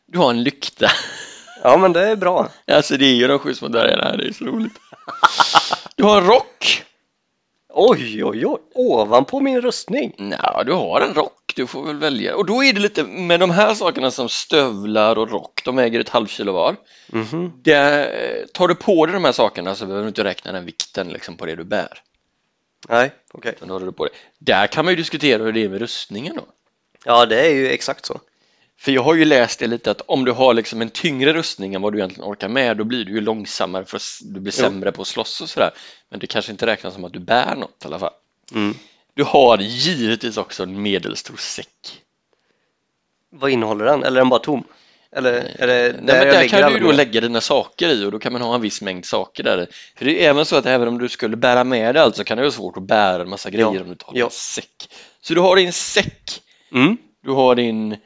S1: Du har en lykta. [LAUGHS]
S2: ja, men det är bra.
S1: Alltså det är ju de sju små dvärgarna här, det är så roligt. [LAUGHS] Du har en rock.
S2: Oj, oj, oj, ovanpå min rustning.
S1: Nej, du har en rock, du får väl välja. Och då är det lite med de här sakerna som stövlar och rock, de väger ett halvkilo var.
S2: Mhm.
S1: Det, tar du på dig de här sakerna så behöver du inte räkna den vikten liksom på det du bär.
S2: Nej, okej.
S1: Utan då håller du på det. Där kan man ju diskutera hur det är med rustningen då.
S2: Ja, det är ju exakt så.
S1: För jag har ju läst det lite att om du har liksom en tyngre rustning än vad du egentligen orkar med då blir du ju långsammare för att s- du blir
S2: Jo.
S1: sämre på att slåss och sådär. Men det kanske inte räknas som att du bär något i alla fall.
S2: Mm.
S1: Du har givetvis också en medelstor säck.
S2: Vad innehåller den? Eller är den bara tom? Eller Eh, är det
S1: Nej, men
S2: jag
S1: där kan
S2: alla
S1: du ju då
S2: mina?
S1: lägga dina saker i och då kan man ha en viss mängd saker där. För det är även så att även om du skulle bära med dig allt så kan det vara svårt att bära en massa grejer
S2: Ja,
S1: om du tar
S2: ja.
S1: en säck. Så du har din säck,
S2: Mm.
S1: du har din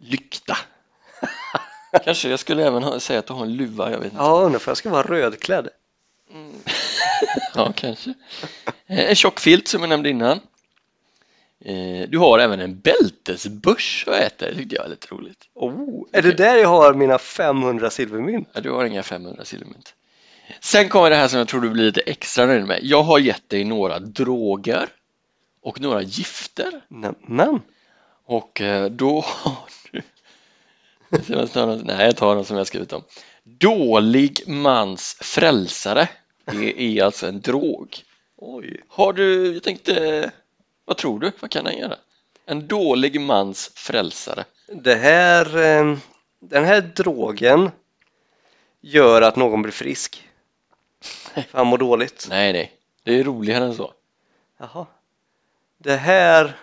S1: lykta. [LAUGHS] Kanske jag skulle även ha, säga att du har en luva, jag vet inte.
S2: Ja, undrar för jag ska vara rödklädd.
S1: Mm. [LAUGHS] Ja, kanske. Eh, En tjock filt som jag nämnde innan. Eh, Du har även en bältesbörs att äta, det tyckte jag var lite roligt.
S2: Oh, är det där jag har mina 500 silvermynt?
S1: Ja, du har inga 500 silvermynt. Sen kommer det här som jag tror du blir lite extra nöjd med. Jag har gett dig några droger och några gifter.
S2: Nämen,
S1: Och eh, då har du... Jag ser nästan något- Nej, jag tar den som jag skrivit om. Dålig mans frälsare. Det är alltså en drog.
S2: oj.
S1: Har du, jag tänkte, vad tror du? Vad kan han göra? En dålig mans frälsare.
S2: Det här, eh, den här drogen gör att någon blir frisk. För han mår dåligt.
S1: Nej, nej, det är roligare än så.
S2: Jaha. Det här...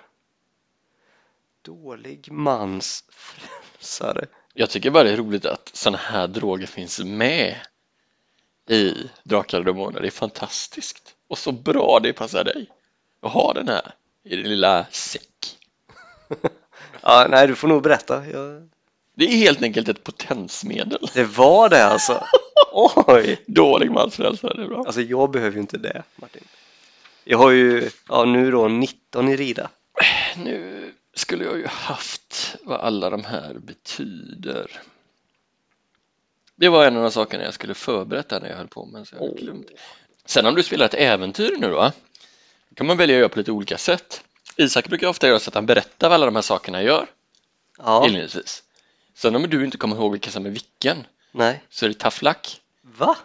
S2: Dålig mans frälsare.
S1: Jag tycker bara det är roligt att sådana här droger finns med i Drakar och Demoner. Det är fantastiskt. Och så bra det passar dig. Jag har den här i din lilla säck.
S2: Ja, nej, du får nog berätta. Jag...
S1: Det är helt enkelt ett potensmedel.
S2: Det var det alltså. Oj!
S1: Dålig mansfrälsare, det är bra.
S2: Alltså, jag behöver ju inte det, Martin. Jag har ju, ja nu då, 19 i rida.
S1: Nu skulle jag ju haft vad alla de här betyder. Det var en av de sakerna jag skulle förberett där när jag höll på men så jag har glömt. Sen om du spelar ett äventyr nu då, då kan man välja att göra på lite olika sätt. Isak brukar ofta göra så att han berättar vad alla de här sakerna jag gör
S2: Ja,
S1: inledningsvis. Sen om du inte kommer ihåg vilka som är vilken
S2: nej.
S1: så är det tafflack.
S2: Va?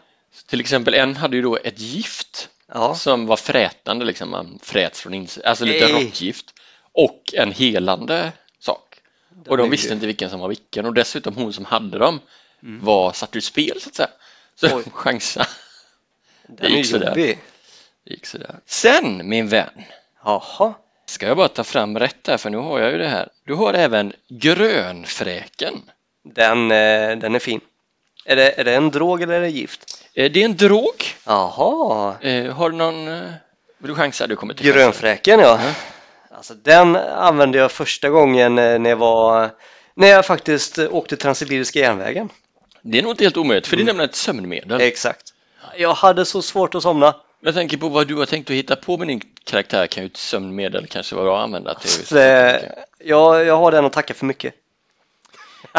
S1: Till exempel en hade ju då ett gift
S2: Ja,
S1: som var frätande, liksom man fräts från insidan, alltså lite
S2: Nej.
S1: rockgift och en helande sak. och
S2: är
S1: de
S2: ju-
S1: visste inte vilken som var vilken och dessutom hon som hade dem var satt ur spel så att säga. Så
S2: Mm. Oj.
S1: [LAUGHS] chansa,
S2: den är
S1: gick sådär.
S2: jobbig.
S1: det gick sådär. Sen min vän,
S2: Jaha.
S1: ska jag bara ta fram rätt här för nu har jag ju det här. Du har även grönfräken.
S2: Den, eh, den är fin. Är det, är det en drog eller är det gift?
S1: Eh, Det är en drog.
S2: Jaha,
S1: Eh, Har du någon, eh, vill du chansa? Du kommer inte chansa.
S2: grönfräken ja. Alltså den använde jag första gången eh, när jag var när jag faktiskt eh, åkte Transsibiriska järnvägen.
S1: Det är nog inte helt omöjligt för det är
S2: Mm.
S1: nämligen ett sömnmedel.
S2: Exakt. Jag hade så svårt att somna.
S1: Jag tänker på vad du har tänkt att hitta på med din karaktär kan ju ett sömnmedel kanske vara bra att använda till. just
S2: Så, eh, jag, jag har den att tacka för mycket.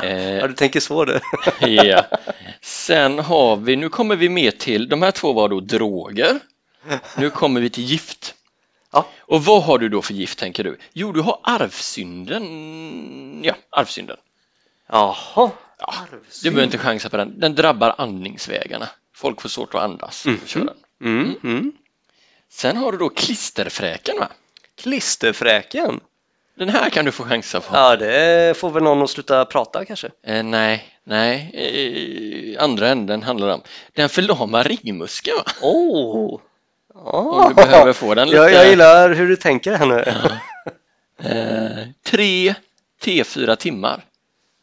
S1: Eh,
S2: Ja, du tänker så du.
S1: ja. Sen har vi, nu kommer vi med till, de här två var då droger. Nu kommer vi till gift.
S2: Ja.
S1: Och vad har du då för gift tänker du? Jo, du har arvsynden. Ja, arvsynden.
S2: [LAUGHS] Jaha.
S1: Du behöver inte chansa på den. Den drabbar andningsvägarna. Folk får svårt att andas. Kör den.
S2: Mm. Mm.
S1: Sen har du då klisterfräken va?
S2: Klisterfräken.
S1: Den här kan du få chansa på.
S2: Ja, det får väl någon att sluta prata kanske.
S1: Eh, nej, nej. Eh, andra änden handlar det om. Den förlamar ringmuskeln va?
S2: Oh. Ja.
S1: Om du behöver få den lite.
S2: Jag, jag gillar hur du tänker här nu.
S1: Eh, tre T4 timmar.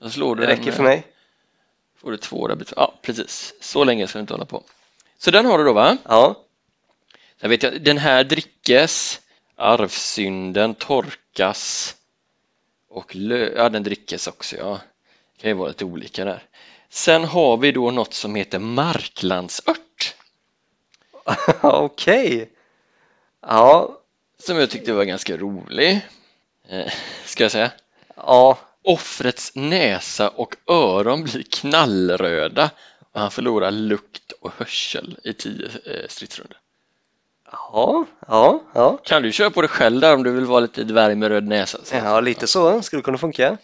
S1: Då slår du
S2: Det
S1: den,
S2: räcker för
S1: eh,
S2: mig.
S1: Får du två rabbit. Ja, precis. Så länge ska du inte hålla på. Så den har du då va?
S2: Ja. [LAUGHS]
S1: Sen vet jag, den här drickes, arvsynden torkas och lö- ja, den drickes också ja. Det kan ju vara lite olika där. Sen har vi då något som heter marklandsört.
S2: Okej. Ja.
S1: som jag tyckte var ganska rolig. Eh, ska jag säga?
S2: Ja.
S1: Offrets näsa och öron blir knallröda och han förlorar lukt och hörsel i tio eh, stridsrundor.
S2: Ja. Ja. Ja.
S1: Kan du köra på dig själv där om du vill vara lite dvärg med röd näsa? Så.
S2: Ja, lite så skulle kunna funka.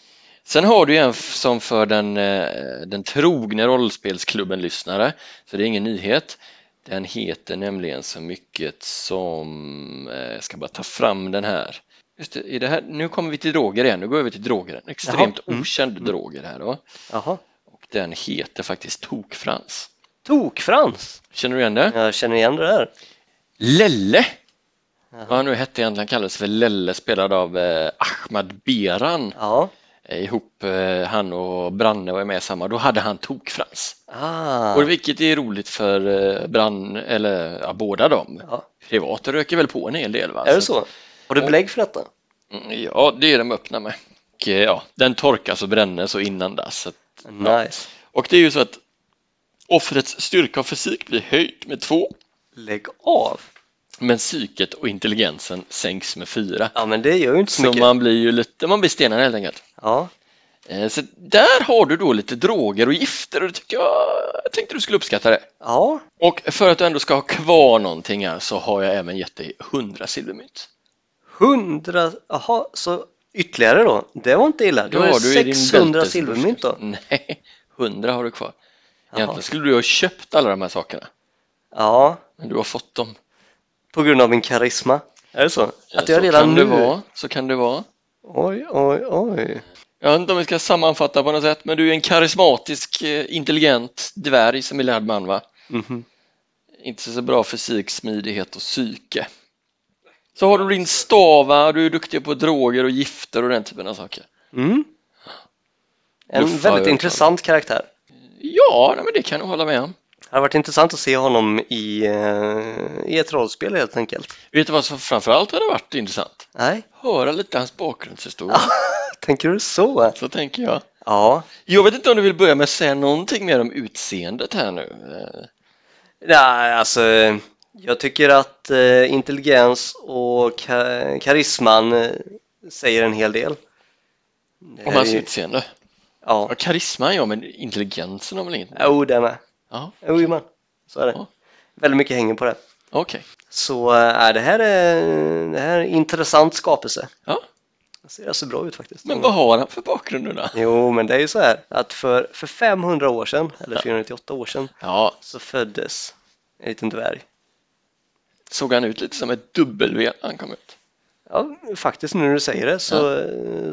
S1: Sen har du ju en f- som för den, eh, den trogne rollspelsklubben-lyssnare, så det är ingen nyhet. Den heter nämligen så mycket som, eh, jag ska bara ta fram den här. Just det, i det här, nu kommer vi till droger igen, nu går vi över till droger. En extremt
S2: Jaha. Mm.
S1: okänd droger här då.
S2: Jaha.
S1: Och den heter faktiskt Tokfrans.
S2: Tokfrans.
S1: Känner du igen det?
S2: Jag känner igen det där.
S1: Lelle!
S2: Jaha.
S1: Vad han nu hette egentligen kallades för Lelle, spelad av eh, Ahmad Beran.
S2: Ja.
S1: Eh, ihop, eh, han och Branne var ju med samma, då hade han Tokfrans.
S2: Ah.
S1: Och vilket är roligt för eh, Brann, eller ja, båda dem.
S2: Ja.
S1: Privat röker väl på en hel del va?
S2: Är det så? Har du belägg för detta?
S1: Mm, Ja, det är de öppna med. Och, eh, ja, den torkas och brännes och inandas. Så att-
S2: Nice.
S1: Och det är ju så att offrets styrka och fysik blir höjd med två,
S2: Lägg av.
S1: men psyket och intelligensen sänks med fyra.
S2: Ja, men det gör ju inte så,
S1: Så
S2: mycket.
S1: man blir ju lite, man blir stenad helt enkelt.
S2: Ja.
S1: Eh, Så där har du då lite droger och gifter och det tycker jag, jag tänkte du skulle uppskatta det.
S2: Ja.
S1: Och för att du ändå ska ha kvar någonting här så har jag även gett dig 100 silvermynt.
S2: 100, jaha, så ytterligare då. Det var inte illa. Då
S1: Ja,
S2: är
S1: du är i din
S2: 600
S1: bältes-
S2: silvermynt då.
S1: [LAUGHS] Nej, 100 har du kvar.
S2: Jaha.
S1: Egentligen skulle du ha köpt alla de här sakerna,
S2: Ja,
S1: men du har fått dem.
S2: på grund av min karisma. Är det så? Att jag
S1: så
S2: redan
S1: kan
S2: nu...
S1: Det vara, så kan det vara.
S2: Oj, oj, oj.
S1: Jag vet inte om vi ska sammanfatta på något sätt, men du är en karismatisk, eh, intelligent dvärg som är lärd man, va?
S2: Mhm.
S1: Inte så bra fysik, smidighet och psyke. Så har du din stava, du är duktig på droger och gifter och den typen av saker.
S2: Mm. En
S1: Buffa
S2: väldigt
S1: övertalning.
S2: intressant karaktär.
S1: Ja, nej, men det kan jag hålla med om.
S2: Det hade varit intressant att se honom i, eh, i ett rollspel helt enkelt.
S1: Vet du vad som framförallt hade varit intressant?
S2: Nej,
S1: Höra lite hans bakgrundshistoria,
S2: [LAUGHS] tänker du så?
S1: så tänker jag.
S2: Ja.
S1: Jag vet inte om du vill börja med att säga någonting mer om utseendet här nu. Eh,
S2: Nej, alltså jag tycker att eh, intelligens och ka- karisman eh, säger en hel del. Det
S1: Om
S2: är
S1: hans
S2: ju-
S1: utseende.
S2: Ja,
S1: eh, Ja, karisman ja, men intelligensen har väl inget?
S2: jo det med.
S1: Ja,
S2: Jo, man. så är det.
S1: Ja.
S2: Väldigt mycket hänger på det.
S1: okej.
S2: Så eh, det här är, det här är en intressant skapelse.
S1: Ja.
S2: Det ser alltså bra ut faktiskt.
S1: Men vad har han för bakgrund nu då?
S2: Jo, men det är ju så här att för, för 500 år sedan, eller 498 år sedan,
S1: Ja,
S2: så föddes en liten dvärg.
S1: såg han ut lite som ett W när han kom ut?
S2: Ja, faktiskt nu när du säger det så,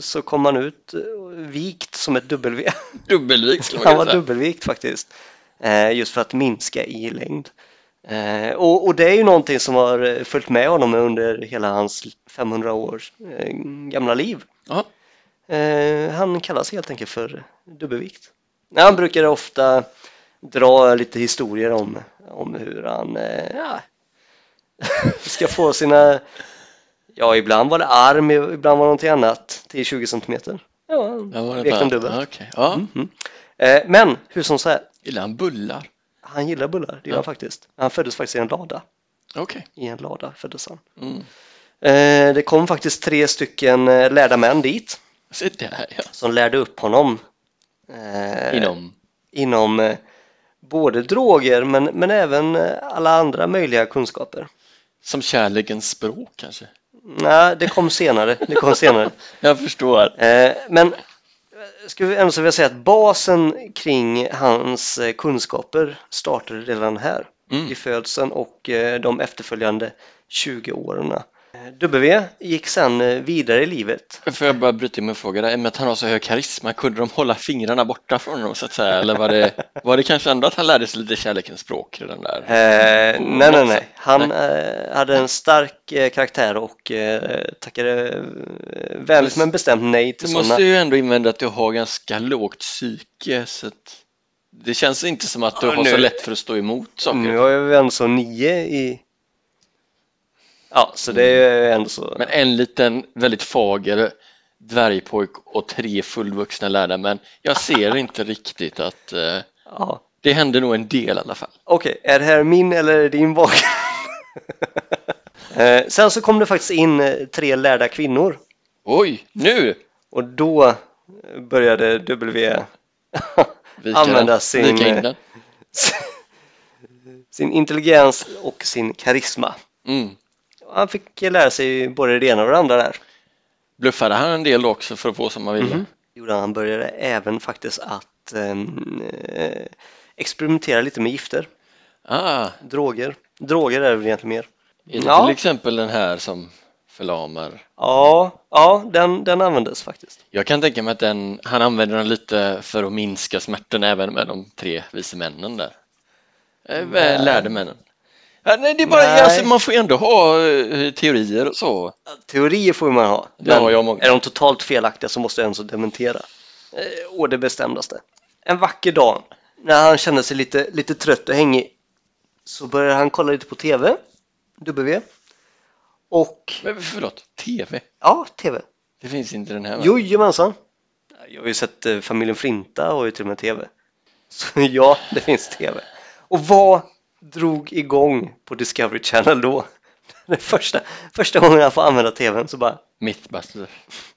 S2: så kom han ut eh, vikt som ett W.
S1: Dubbelvig skulle man
S2: Han
S1: kunna
S2: var
S1: säga.
S2: dubbelvikt faktiskt. Eh, just för att minska i längd. Eh, och, och det är ju någonting som har eh, följt med honom under hela hans 500 års eh, gamla liv.
S1: Ja.
S2: Eh, han kallas helt enkelt för dubbelvikt. Ja, han brukar ofta dra lite historier om, om hur han eh, ja, [LAUGHS] ska få sina, ja ibland var det arm, ibland var det någonting annat, 10-20 centimeter. Ja,
S1: Ja, var det
S2: han lekte om
S1: bara-
S2: dubbel.
S1: Ja, okej. Ja,
S2: Mhm. Eh, men hur som så här,
S1: gillar han bullar?
S2: han gillar bullar, det gör
S1: Ja.
S2: han faktiskt. Han föddes faktiskt i en lada,
S1: Okej.
S2: i en lada föddes han.
S1: Mm.
S2: Eh, det kom faktiskt tre stycken eh, lärda män dit
S1: Se där ja.
S2: som lärde upp honom. Eh,
S1: Inom.
S2: inom eh, både droger men, men även eh, alla andra möjliga kunskaper.
S1: Som kärlekens språk kanske?
S2: Nej, det kom senare.
S1: [LAUGHS]
S2: Det kom senare.
S1: Jag förstår.
S2: Eh, Men eh, skulle vi ändå så vilja säga att basen kring hans eh, kunskaper startade redan här
S1: Mm.
S2: i födseln och eh, de efterföljande 20 åren. Eh, W gick sen eh, vidare i livet.
S1: Får jag bara bryta in med en fråga där? I och med att han har så hög karisma, kunde de hålla fingrarna borta från honom så att säga? Eller var det, var det kanske ändå att han lärde sig lite kärlekens språk redan där?
S2: Eh, nej, nej, nej. Han eh, hade en stark eh, karaktär och eh, tackade eh, vänligt men bestämt nej till
S1: Du
S2: sådana.
S1: måste ju ändå invända att du har ganska lågt psyke så att det känns inte som att du
S2: Ja,
S1: har
S2: nu-
S1: så lätt för att stå emot saker.
S2: Nu har Mm, jag väl ändå så nio i... Ja, så det är ju ändå så.
S1: Men en liten väldigt fager dvärgpojk och tre fullvuxna lärda män. Jag ser inte riktigt att eh,
S2: Ja.
S1: det händer nog en del i alla fall.
S2: Okej, är det här min eller är det din bakgrund? [LAUGHS] Eh, Sen så kom det faktiskt in eh, tre lärda kvinnor
S1: Oj, nu!
S2: och då började W
S1: Vika
S2: använda
S1: den.
S2: sin,
S1: Vika in den.
S2: [LAUGHS] sin intelligens och sin karisma.
S1: Mm.
S2: Han fick lära sig både det ena och det andra där.
S1: Bluffade han en del också för att få som han ville?
S2: gjorde han. Han började även faktiskt att ehm, eh, experimentera lite med gifter,
S1: Ah,
S2: droger. Droger är det väl egentligen mer.
S1: är det
S2: Ja.
S1: till exempel den här som förlamar?
S2: Ja, ja den, den användes faktiskt.
S1: Jag kan tänka mig att den, han använder den lite för att minska smärtan även med de tre vise männen där. Eh,
S2: Nej.
S1: Väl lärde männen. Ja, nej, det är bara,
S2: Nej.
S1: alltså, man får ju ändå ha eh, teorier och så.
S2: Teorier får man ha,
S1: Det har jag många.
S2: är de totalt felaktiga så måste jag ens dementera. Eh, å det bestämdaste. En vacker dag när han kände sig lite, lite trött och hängig så började han kolla lite på TV, W. Och,
S1: Men förlåt, TV?
S2: ja, TV.
S1: Det finns inte den här va?
S2: Jojomensan! Jag har ju sett eh, Familjen Flinta och ju till och med TV. [LAUGHS] Så ja, det finns TV. Och vad drog igång på Discovery Channel då? [LAUGHS] Den första, första gången jag får använda TVn så bara
S1: Mythbusters.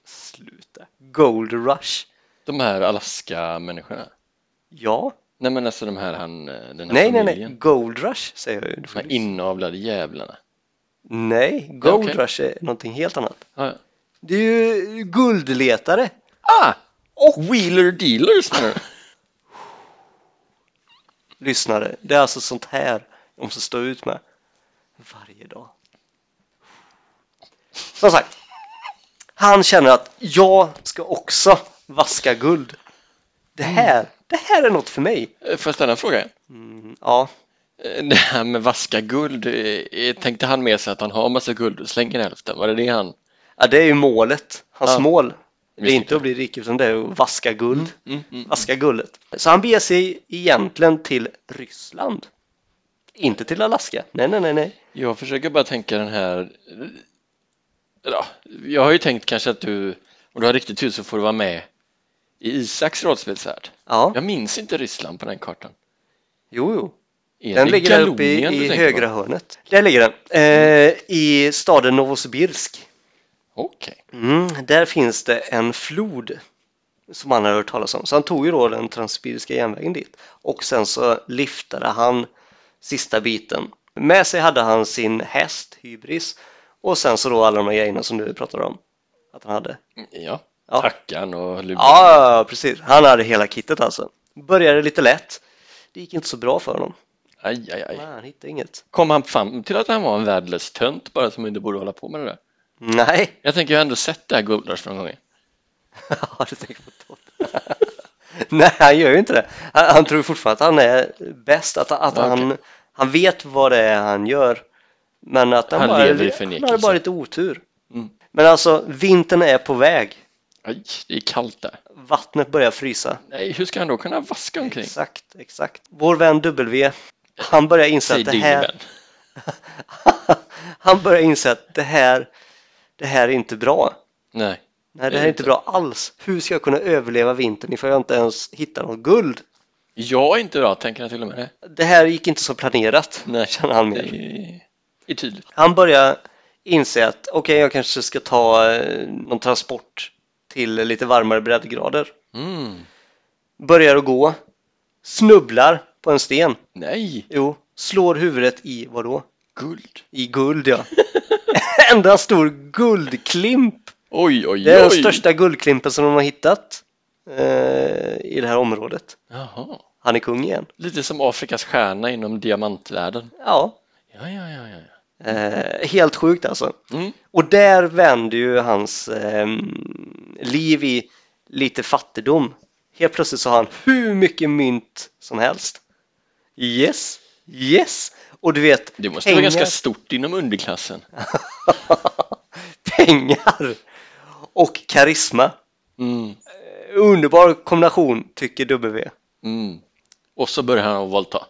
S2: sluta. Gold Rush.
S1: De här Alaska-människorna?
S2: Ja,
S1: Nej men alltså de här han, eh, den här
S2: nej, nej,
S1: familjen.
S2: nej. Gold Rush säger jag ju.
S1: De här inavlade jävlarna.
S2: Nej, Gold
S1: Okej.
S2: Rush är någonting helt annat.
S1: Ja, ja.
S2: Det är ju guldletare.
S1: Ah! Och Wheeler Dealers menar du?
S2: lyssnare. Det är alltså sånt här de måste stå ut med varje dag. Som sagt, han känner att jag ska också vaska guld. Det här,
S1: Mm.
S2: det här är något för mig.
S1: Eh, Får jag ställa en fråga?
S2: Mm, ja,
S1: Eh, Det här med vaska guld, eh, eh, tänkte han med sig att han har massa guld och slänger hälften? Var det det han?
S2: ja, det är ju målet. Hans
S1: Ja.
S2: mål. Det är
S1: Vilket
S2: inte att bli rik utan det är att vaska guld.
S1: Mm, mm.
S2: Vaska guldet. Så han beger sig egentligen till Ryssland. Inte till Alaska. Nej, nej, nej, nej.
S1: Jag försöker bara tänka den här... Ja, jag har ju tänkt kanske att du, om du har riktigt tur så får du vara med i Isaks rollspelsvärld.
S2: Ja,
S1: Jag minns inte Ryssland på den kartan.
S2: jo, jo.
S1: Är
S2: Den
S1: det
S2: ligger där uppe i,
S1: Gallonien du
S2: i
S1: tänker på?
S2: högra hörnet. Där ligger den. Eh, I staden Novosibirsk.
S1: Okej.
S2: Mm, där finns det en flod som han har hört talas om. Så han tog ju då den Transsibiriska järnvägen dit. Och sen så liftade han sista biten. Med sig hade han sin häst, Hybris. Och sen så då alla de här grejerna som du pratade om. Att han hade.
S1: Mm, Ja.
S2: Ja.
S1: Tackan och luren.
S2: Ja, ja, precis. Han hade hela kittet alltså. Började lite lätt. Det gick inte så bra för honom.
S1: Aj, aj, aj.
S2: Nej, han hittade inget.
S1: Kom han fram till att han var en värdelös tönt bara som inte borde hålla på med det där?
S2: Nej.
S1: Jag tänker jag har ändå sett det här Guldars någon gång.
S2: [LAUGHS] Ja, du tänker på Todd. [LAUGHS] Nej, han gör ju inte det. Han, han tror fortfarande att han är bäst, att, att
S1: Ja, okej.
S2: han, han vet vad det är han gör. Men att han,
S1: Han
S2: bara,
S1: lever i
S2: han
S1: förnekelse.
S2: har bara lite otur.
S1: Mm.
S2: Men alltså, vintern är på väg.
S1: Aj, det är kallt där.
S2: Vattnet börjar frysa.
S1: Nej, hur ska han då kunna vaska omkring?
S2: Exakt, exakt. Vår vän W, han börjar inse
S1: Säg
S2: att det
S1: din
S2: här...
S1: vän.
S2: [LAUGHS] han börjar inse att det här, det här är inte bra.
S1: Nej.
S2: Nej, det
S1: Det är
S2: här är inte bra alls. Hur ska jag kunna överleva vintern ifall jag inte ens hittar något guld?
S1: Jag är inte bra, tänker han till och med.
S2: Det här gick inte som planerat, [LAUGHS]
S1: Nej.
S2: känner han
S1: Det
S2: mer.
S1: är- är tydligt.
S2: Han börjar inse att okej, jag kanske ska ta eh, någon transport till lite varmare breddgrader.
S1: Mm.
S2: Börjar att gå, snubblar på en sten.
S1: Nej,
S2: Jo, slår huvudet i vad då?
S1: guld. [LAUGHS]
S2: I guld, ja. [LAUGHS] Enda stor guldklimp.
S1: Oj, oj, oj.
S2: Det är den största guldklimpen som de har hittat eh, i det här området.
S1: Jaha.
S2: Han är kung igen.
S1: Lite som Afrikas stjärna inom diamantvärlden.
S2: Ja,
S1: Ja, ja, ja, ja. ja.
S2: eh, helt sjukt alltså.
S1: Mm.
S2: Och där vänder ju hans ehm, liv i lite fattigdom. Helt plötsligt så har han hur mycket mynt som helst. Yes, yes! Och du vet,
S1: Det måste vara ganska stort inom underklassen.
S2: [LAUGHS] pengar och karisma.
S1: Mm.
S2: Underbar kombination, tycker W.
S1: Mm. Och så börjar han att våldta.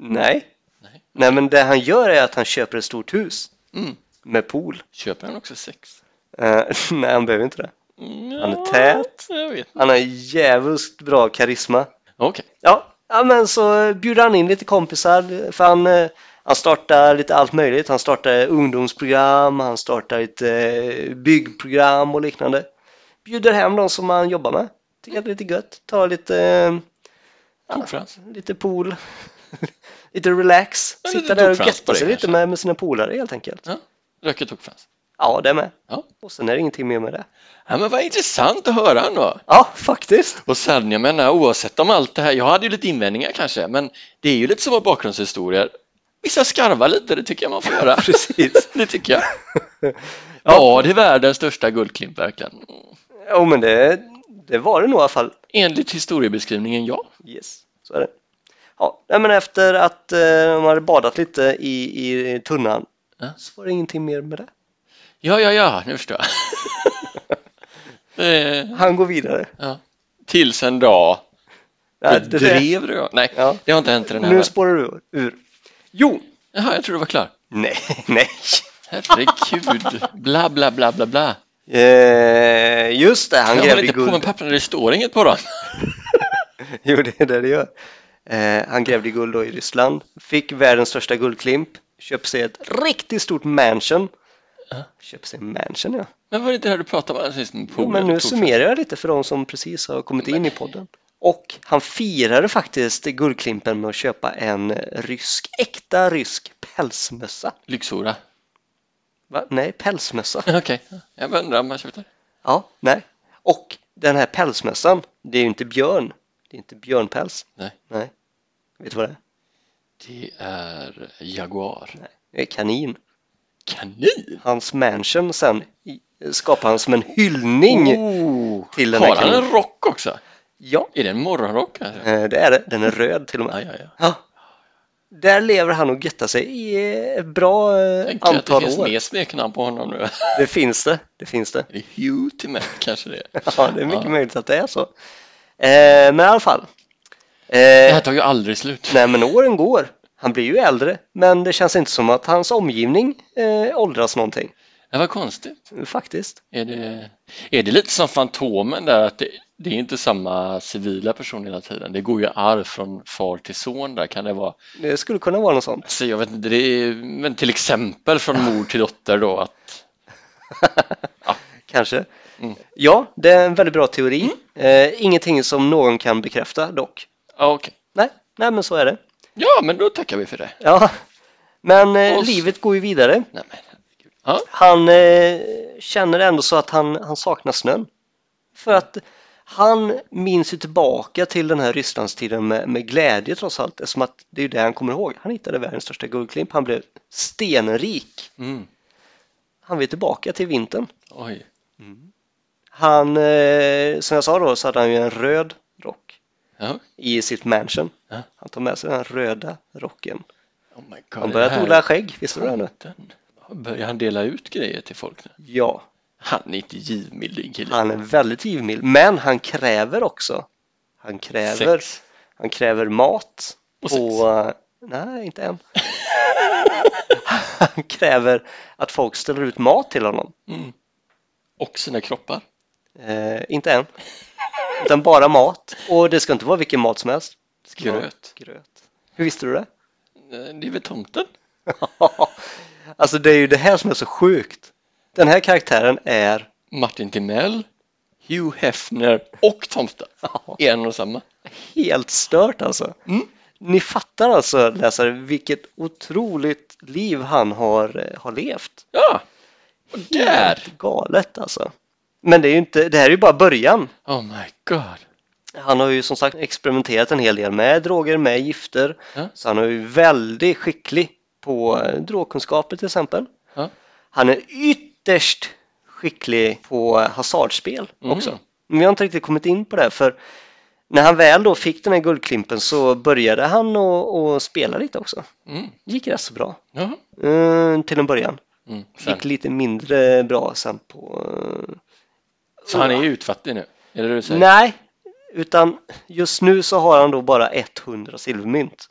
S2: Nej.
S1: Nej.
S2: Nej, men det han gör är att han köper ett stort hus
S1: Mm.
S2: med pool.
S1: Köper han också sex?
S2: Eh, [LAUGHS] nej, han behöver inte det.
S1: Mm,
S2: Han är
S1: ja,
S2: tät.
S1: Jag vet.
S2: Han har djävulskt bra karisma.
S1: Okej.
S2: Ja, ja men så eh, bjuder han in lite kompisar för han, eh, han startar lite allt möjligt. Han startar ungdomsprogram, han startar lite eh, byggprogram och liknande. Bjuder hem de som han jobbar med. Tycker att det är lite gött. Tar lite, eh,
S1: Tokfrans.
S2: lite pool, [LAUGHS] lite relax.
S1: Ja, lite
S2: Sitta där och
S1: tokfrans på
S2: götta
S1: det
S2: sig lite
S1: kanske.
S2: med, med sina polare helt enkelt.
S1: Ja. Röker tokfrans.
S2: Ja, det med.
S1: Ja.
S2: Och sen är det ingenting mer med det.
S1: Ja, men vad intressant att höra ändå.
S2: Ja, faktiskt.
S1: Och sen, jag menar, oavsett om allt det här, jag hade ju lite invändningar kanske, men det är ju lite som att bakgrundshistorier. Vissa skarvar lite, det tycker jag man får [LAUGHS] göra.
S2: [LAUGHS] Precis.
S1: det tycker jag. Ja, det är världens största guldklimp verkligen.
S2: Jo, men det, det var det nog i alla fall.
S1: Enligt historiebeskrivningen, ja.
S2: Yes, så är det. Ja, nej, men efter att eh, de hade badat lite i, i tunnan
S1: Ja.
S2: så var det ingenting mer med det. [LAUGHS]
S1: Ja, ja, ja, nu förstår jag. [LAUGHS] Eh,
S2: Han går vidare.
S1: Tills en dag.
S2: Nej, det- det-
S1: Drev du? då? Nej,
S2: Ja.
S1: det har inte hänt i den här
S2: nu
S1: världen.
S2: spårar du ur. Jo!
S1: Jaha, jag tror du var klar.
S2: Nej, [LAUGHS] nej.
S1: Herregud, bla, bla, bla, bla, bla.
S2: Eh, just det, han
S1: Jag håller
S2: gräver i
S1: inte på med
S2: guld.
S1: pappren, det står inget på dem.
S2: [LAUGHS] Jo, det är det det gör. Eh, han grävde i guld då i Ryssland. Fick världens största guldklimp. Köpte sig ett riktigt stort mansion.
S1: Ja.
S2: Köpte sig en mansion, ja.
S1: Men var det inte det här du pratade om alldeles nyss med
S2: Jo,
S1: poolen?
S2: men nu
S1: och tog-
S2: summerar jag lite för de som precis har kommit in i podden. Och han firade faktiskt Guldklimpen med att köpa en rysk, äkta rysk pälsmössa.
S1: Lyxhora. [LAUGHS]
S2: Va? Nej, pälsmössa.
S1: Okej, jag bara undrar om man köpte det.
S2: Ja, nej. Och den här pälsmössan, det är ju inte björn. Det är inte björnpäls.
S1: Nej.
S2: nej. Vet du vad det är?
S1: Det är Jaguar.
S2: Nej. Det är kanin.
S1: Kanin?
S2: Hans mansion sen i- skapar han som en hyllning.
S1: Oh,
S2: till den
S1: har
S2: här
S1: han
S2: kaninen.
S1: en rock också?
S2: Ja,
S1: Är det en morgonrock? Alltså?
S2: eh, det är det. Den är röd till och med.
S1: Ja, ja, ja.
S2: Ja. Där lever han och göttar sig i ett bra eh,
S1: Tänk att det
S2: antal
S1: finns
S2: år.
S1: mer smeknamn på honom nu.
S2: Det finns det. Det finns det.
S1: [LAUGHS] Det är Hugh till mig kanske det [LAUGHS] är.
S2: Ja, det är mycket möjligt att det är så. Eh, men i alla fall.
S1: Det
S2: Eh,
S1: här tar ju aldrig slut.
S2: nej, men åren går. Han blir ju äldre, men det känns inte som att hans omgivning eh, åldras någonting.
S1: Det var konstigt.
S2: Faktiskt.
S1: Är det, är det lite som Fantomen där att det, det är inte samma civila person hela tiden. Det går ju arv från far till son där kan det vara.
S2: Det skulle kunna vara något sånt.
S1: Så jag vet inte, det är, men till exempel från mor till dotter då att
S2: [LAUGHS] Kanske.
S1: Mm.
S2: Ja, det är en väldigt bra teori. Eh, ingenting som någon kan bekräfta dock.
S1: ja, okej.
S2: Nej, nej men så är det.
S1: Ja, men då tackar vi för det.
S2: Ja. Men eh,
S1: Och så-
S2: livet går ju vidare.
S1: Nej, men, herregud. ja,
S2: Han eh, känner ändå så att han, han saknar snön. För att han minns ju tillbaka till den här Rysslandstiden med, med glädje trots allt. Eftersom att det är ju det han kommer ihåg. Han hittade världens största guldklimp. Han blev stenrik.
S1: mm.
S2: Han vill tillbaka till vintern.
S1: oj.
S2: Han, eh, som jag sa då, så hade han ju en röd rock
S1: Ja.
S2: i sitt mansion.
S1: Ja.
S2: Han tar med sig den röda rocken.
S1: Oh my God,
S2: Han
S1: det
S2: började
S1: här-
S2: odla skägg, visste du det nu?
S1: Tomten. Börjar han dela ut grejer till folk nu?
S2: Ja,
S1: Han är inte givmild din kille.
S2: han är väldigt givmild. Men han kräver också. Han kräver,
S1: Sex.
S2: han kräver mat.
S1: Och sex.
S2: på, nej, inte än. [LAUGHS] han kräver att folk ställer ut mat till honom.
S1: Mm. Och sina kroppar.
S2: Eh, inte än. Utan bara mat. Och det ska inte vara vilken mat som helst. Det ska vara
S1: Gröt.
S2: gröt. Hur visste du det? [LAUGHS]
S1: Eh, Det är väl tomten?
S2: alltså det är ju det här som är så sjukt. Den här karaktären är
S1: Martin Timell, Hugh Hefner och tomten. Är en och samma.
S2: helt stört alltså.
S1: Mm.
S2: Ni fattar alltså läsare vilket otroligt liv han har, eh, har levt.
S1: Ja! Och där!
S2: Helt galet alltså. Men det är ju inte, det här är ju bara början.
S1: Oh my god.
S2: Han har ju som sagt experimenterat en hel del med droger, med gifter.
S1: Ja.
S2: Så han är ju väldigt skicklig på eh, drogkunskaper till exempel.
S1: Ja.
S2: Han är ytterst skicklig på eh, hasardspel
S1: Mm.
S2: också. Men vi har inte riktigt kommit in på det för när han väl då fick den här guldklimpen så började han och, och spela lite också.
S1: Mm.
S2: gick rätt så bra
S1: Ja.
S2: eh, till en början.
S1: Mm. Sen.
S2: Gick lite mindre bra sen på... eh,
S1: Så han är utfattig nu? Är det det du säger?
S2: Nej, utan just nu så har han då bara 100 silvermynt.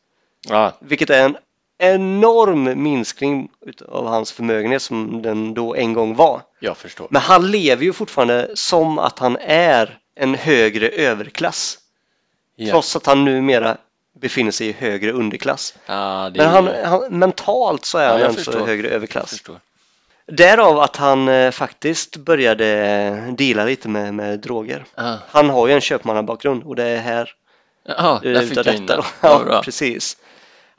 S1: Ja.
S2: Vilket är en enorm minskning av hans förmögenhet som den då en gång var.
S1: Jag förstår.
S2: Men han lever ju fortfarande som att han är en högre överklass.
S1: Ja.
S2: Trots att han numera befinner sig i högre underklass.
S1: Ja, det
S2: Men
S1: är...
S2: han, han, mentalt så är
S1: Ja,
S2: han
S1: jag
S2: ändå så
S1: förstår.
S2: högre
S1: Jag
S2: överklass.
S1: förstår.
S2: Därav att han eh, faktiskt började deala lite med, med droger.
S1: Ja.
S2: Han har ju en köpmannabakgrund och det är här
S1: Ja, där fick
S2: utav
S1: jag in
S2: detta.
S1: det.
S2: då. [LAUGHS]
S1: Ja, bra.
S2: Ja, precis.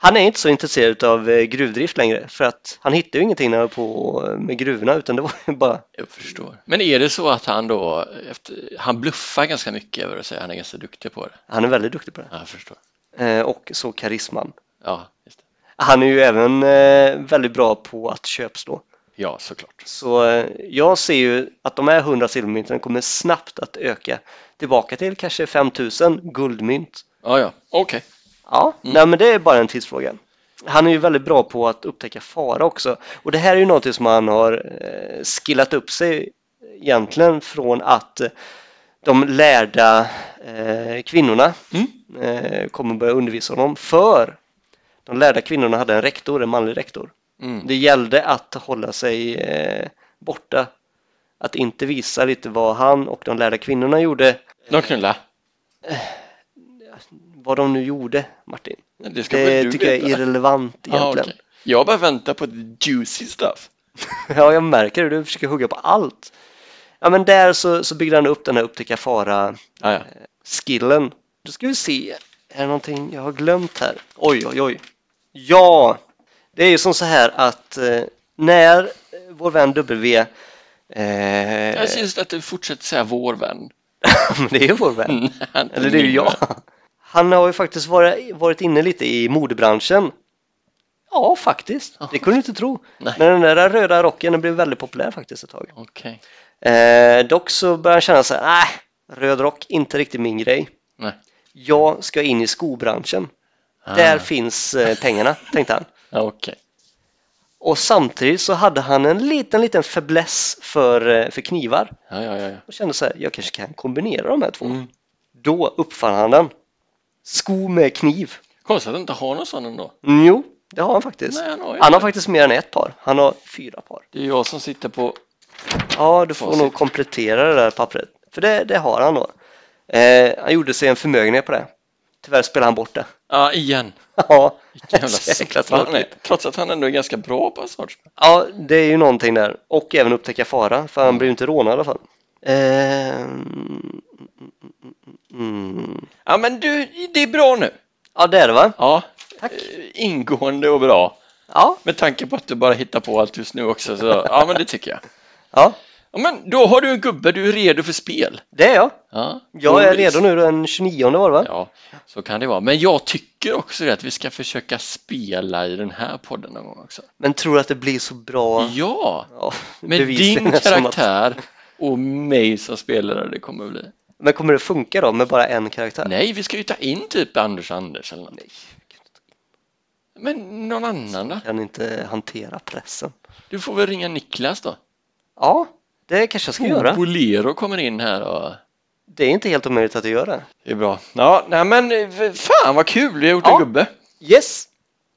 S2: Han är inte så intresserad av eh, gruvdrift längre för att han hittade ju ingenting när han var på eh, med gruvorna utan det var ju bara
S1: Jag förstår. Men är det så att han då, efter, han bluffar ganska mycket över att säga han är ganska duktig på det?
S2: han är väldigt duktig på det
S1: Ja, jag förstår.
S2: Eh, och så karisman.
S1: Ja, just det.
S2: Han är ju även eh, väldigt bra på att köpslå.
S1: ja såklart.
S2: Så eh, jag ser ju att de här 100 silvermynten kommer snabbt att öka tillbaka till kanske 5000 guldmynt.
S1: Ja, ja, okej.
S2: Ja, Mm. nej men det är bara en tidsfråga. Han är ju väldigt bra på att upptäcka fara också. Och det här är ju någonting som han har eh, skillat upp sig egentligen från att eh, de lärda eh, kvinnorna
S1: Mm.
S2: eh, kommer börja undervisa honom. För de lärda kvinnorna hade en rektor, en manlig rektor.
S1: Mm.
S2: Det gällde att hålla sig eh, borta. Att inte visa lite vad han och de lärda kvinnorna gjorde.
S1: De knullar.
S2: Vad de nu gjorde, Martin.
S1: Ja, Det ska väl
S2: Det
S1: du
S2: tycker jag är
S1: veta.
S2: irrelevant
S1: Ja,
S2: egentligen.
S1: okej. Jag bara väntar på the juicy stuff.
S2: [LAUGHS] Ja, jag märker det. Du försöker hugga på allt. Ja, men där så, så byggde han upp den här upptäcka fara-skillen.
S1: Ja, ja.
S2: Då ska vi se. Är det någonting jag har glömt här? Oj, oj, oj. Ja, det är ju som så här att eh, när eh, vår vän W... Eh,
S1: Jag syns att du fortsätter säga vår vän.
S2: [LAUGHS] men det är ju vår vän.
S1: [LAUGHS] Han-
S2: Eller det är ju
S1: min
S2: jag.
S1: vän.
S2: Han har ju faktiskt varit, varit inne lite i modebranschen. Ja, faktiskt. Det kunde du inte tro.
S1: Nej.
S2: Men den där röda rocken den blev väldigt populär faktiskt ett tag.
S1: Okej.
S2: Eh, dock så började han känna sig, nej, röd rock, inte riktigt min grej.
S1: Nej.
S2: Jag ska in i skobranschen.
S1: Ah.
S2: Där finns eh, pengarna, tänkte han.
S1: Ja, Ah, Okej.
S2: Och samtidigt så hade han en liten, liten fäbless för, eh, för knivar.
S1: Ja, ja, ja. ja.
S2: Och kände så här, jag kanske kan kombinera de här två. Då uppfann han den. Sko med kniv.
S1: Konstigt att du inte har någon sån ändå.
S2: Mm, Jo, det har han faktiskt.
S1: Nej, han har ju
S2: han
S1: inte.
S2: har faktiskt mer än ett par. Han har fyra par.
S1: Det är jag som sitter på...
S2: Ja, du får
S1: Facit.
S2: nog komplettera det där pappret. För det, det har han då. Eh, han gjorde sig en förmögenhet på det. Tyvärr spelade han bort det. [LAUGHS]
S1: Ja, igen.
S2: ja,
S1: [LAUGHS] Jävla
S2: så jäkla
S1: satan han är.
S2: tråkigt.
S1: Trots att han ändå är ganska bra på en sorts.
S2: Ja, det är ju någonting där. Och även upptäcka fara, för han blir ju inte rånad i alla fall. Eh, mm, mm.
S1: Ja, men du, det är bra nu.
S2: Ja, det är det va?
S1: Ja.
S2: Tack.
S1: Eh, Ingående och bra.
S2: Ja,
S1: Med tanke på att du bara hittar på allt just nu också. Så, [LAUGHS] ja, men det tycker jag.
S2: ja
S1: Ja, men då har du en gubbe, du är redo för spel.
S2: det är jag.
S1: Ja,
S2: Jag är redo nu den 29 var det va?
S1: Ja, så kan det vara. Men jag tycker också det att vi ska försöka spela i den här podden någon gång också.
S2: Men tror du att det blir så bra?
S1: Ja,
S2: Ja,
S1: med
S2: bevisligen
S1: din
S2: eftersom att-
S1: karaktär och mig som spelare det kommer att bli.
S2: Men kommer det funka då med bara en karaktär?
S1: Nej, vi ska ju ta in typ Anders Anders eller något.
S2: Nej,
S1: Men någon annan då?
S2: jag kan inte hantera pressen.
S1: Du får väl ringa Niklas då?
S2: Ja, det kanske jag ska
S1: Oh,
S2: göra.
S1: Bolero kommer in här och...
S2: Det är inte helt omöjligt att jag gör det.
S1: Det är bra. Ja, nej men eh, fan vad kul, vi har gjort
S2: Ja.
S1: en gubbe.
S2: Yes!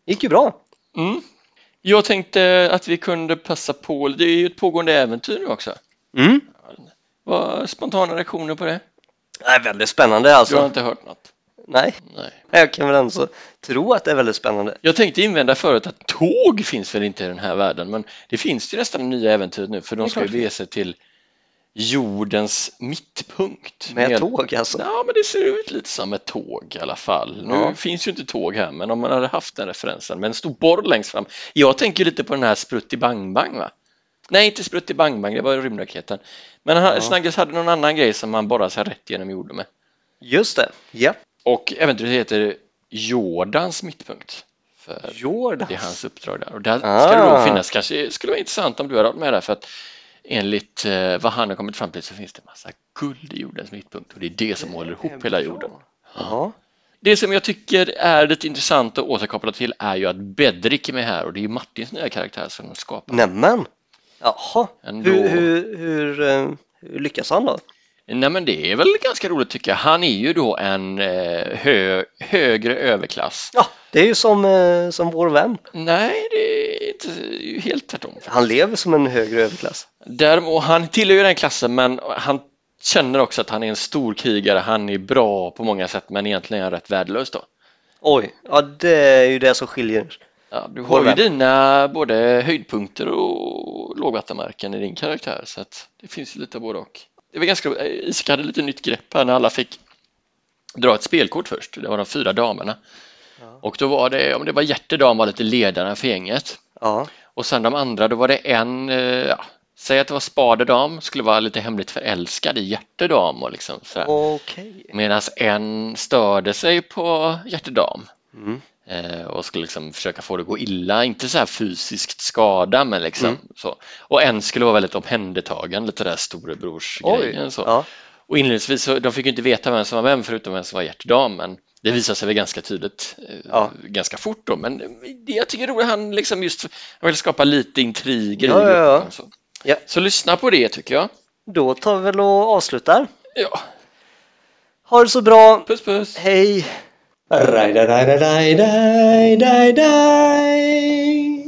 S2: gick ju bra.
S1: Mm. Jag tänkte att vi kunde passa på, det är ju ett pågående äventyr nu också.
S2: Mm.
S1: Vad spontana reaktioner på det?
S2: Det är väldigt spännande alltså.
S1: Du har inte hört något?
S2: Nej,
S1: Nej.
S2: jag kan väl ändå tro att det är väldigt spännande.
S1: Jag tänkte invända förut att tåg finns väl inte i den här världen, men det finns ju nästan i nya äventyret nu för
S2: Det är
S1: de ska ju
S2: klart.
S1: bege sig till jordens mittpunkt.
S2: Med tåg alltså.
S1: Ja, men det ser ut lite som ett tåg i alla fall. Nu
S2: Ja.
S1: finns ju inte tåg här, men om man hade haft den referensen med en stor borr längst fram. Jag tänker lite på den här Sprutti Bang Bang, va? Nej, inte Sprutti Bang Bang, det var rymdraketen. Men han,
S2: Ja.
S1: Snaggis hade någon annan grej som han borrade sig rätt genom jorden med.
S2: Just det. Ja.
S1: Och äventyret heter Jordans mittpunkt. För det är
S2: Jordan.
S1: hans uppdrag där. Och där ska det
S2: Ah.
S1: nog finnas, kanske skulle vara intressant om du hade varit med där för att enligt eh, vad han har kommit fram till så finns det massa guld i jordens mittpunkt och det är det som håller ihop hela jorden.
S2: Ja.
S1: Det som jag tycker är lite intressant att återkoppla till är ju att Bedrik är med här och det är ju Martins nya karaktär som de skapar.
S2: Nämen. Jaha.
S1: Ändå.
S2: Hur, hur, hur, eh, hur lyckas han då?
S1: Nej men det är väl ganska roligt tycker jag. Han är ju då en eh, hö, högre överklass.
S2: Ja, det är ju som, eh, som vår vän.
S1: Nej, det är inte det är ju helt tvärtom.
S2: Han lever som en högre överklass.
S1: Däremot, han tillhör ju den klassen men han känner också att han är en stor krigare, han är bra på många sätt men egentligen är han rätt värdelös då.
S2: Oj, ja det är ju det som skiljer.
S1: Ja, du har
S2: Håller
S1: ju
S2: med.
S1: dina både höjdpunkter och lågvattenmärken i din karaktär så att det finns ju lite av både och. Det var ganska roligt. Isak hade lite nytt grepp här när alla fick dra ett spelkort först, det var de fyra damerna.
S2: Ja.
S1: Och då var det, om det var hjärtedam var lite ledaren för gänget.
S2: Ja,
S1: Och sen de andra, då var det en, eh, ja, säg att det var spadedam, skulle vara lite hemligt förälskad i hjärtedam och liksom sådär.
S2: okej.
S1: Medan en störde sig på hjärtedam
S2: Mm.
S1: eh, och skulle liksom försöka få det att gå illa, inte så här fysiskt skada men liksom
S2: Mm.
S1: så. Och en skulle vara väldigt omhändertagen, lite där storebrorsgrejen så.
S2: Ja.
S1: Och inledningsvis så, de fick ju inte veta vem som var vem förutom vem som var hjärtedam men det visade sig väl ganska tydligt eh,
S2: Ja.
S1: ganska fort då men det jag tycker är roligt, han liksom just han vill skapa lite intriger
S2: Ja,
S1: i
S2: ja, ja.
S1: gruppen Så.
S2: Ja.
S1: så lyssna på det tycker jag.
S2: Då tar vi väl och avslutar.
S1: Ja,
S2: Ha det så bra.
S1: puss puss!
S2: Hej!
S3: Raj, raj, raj, raj, raj, raj, raj.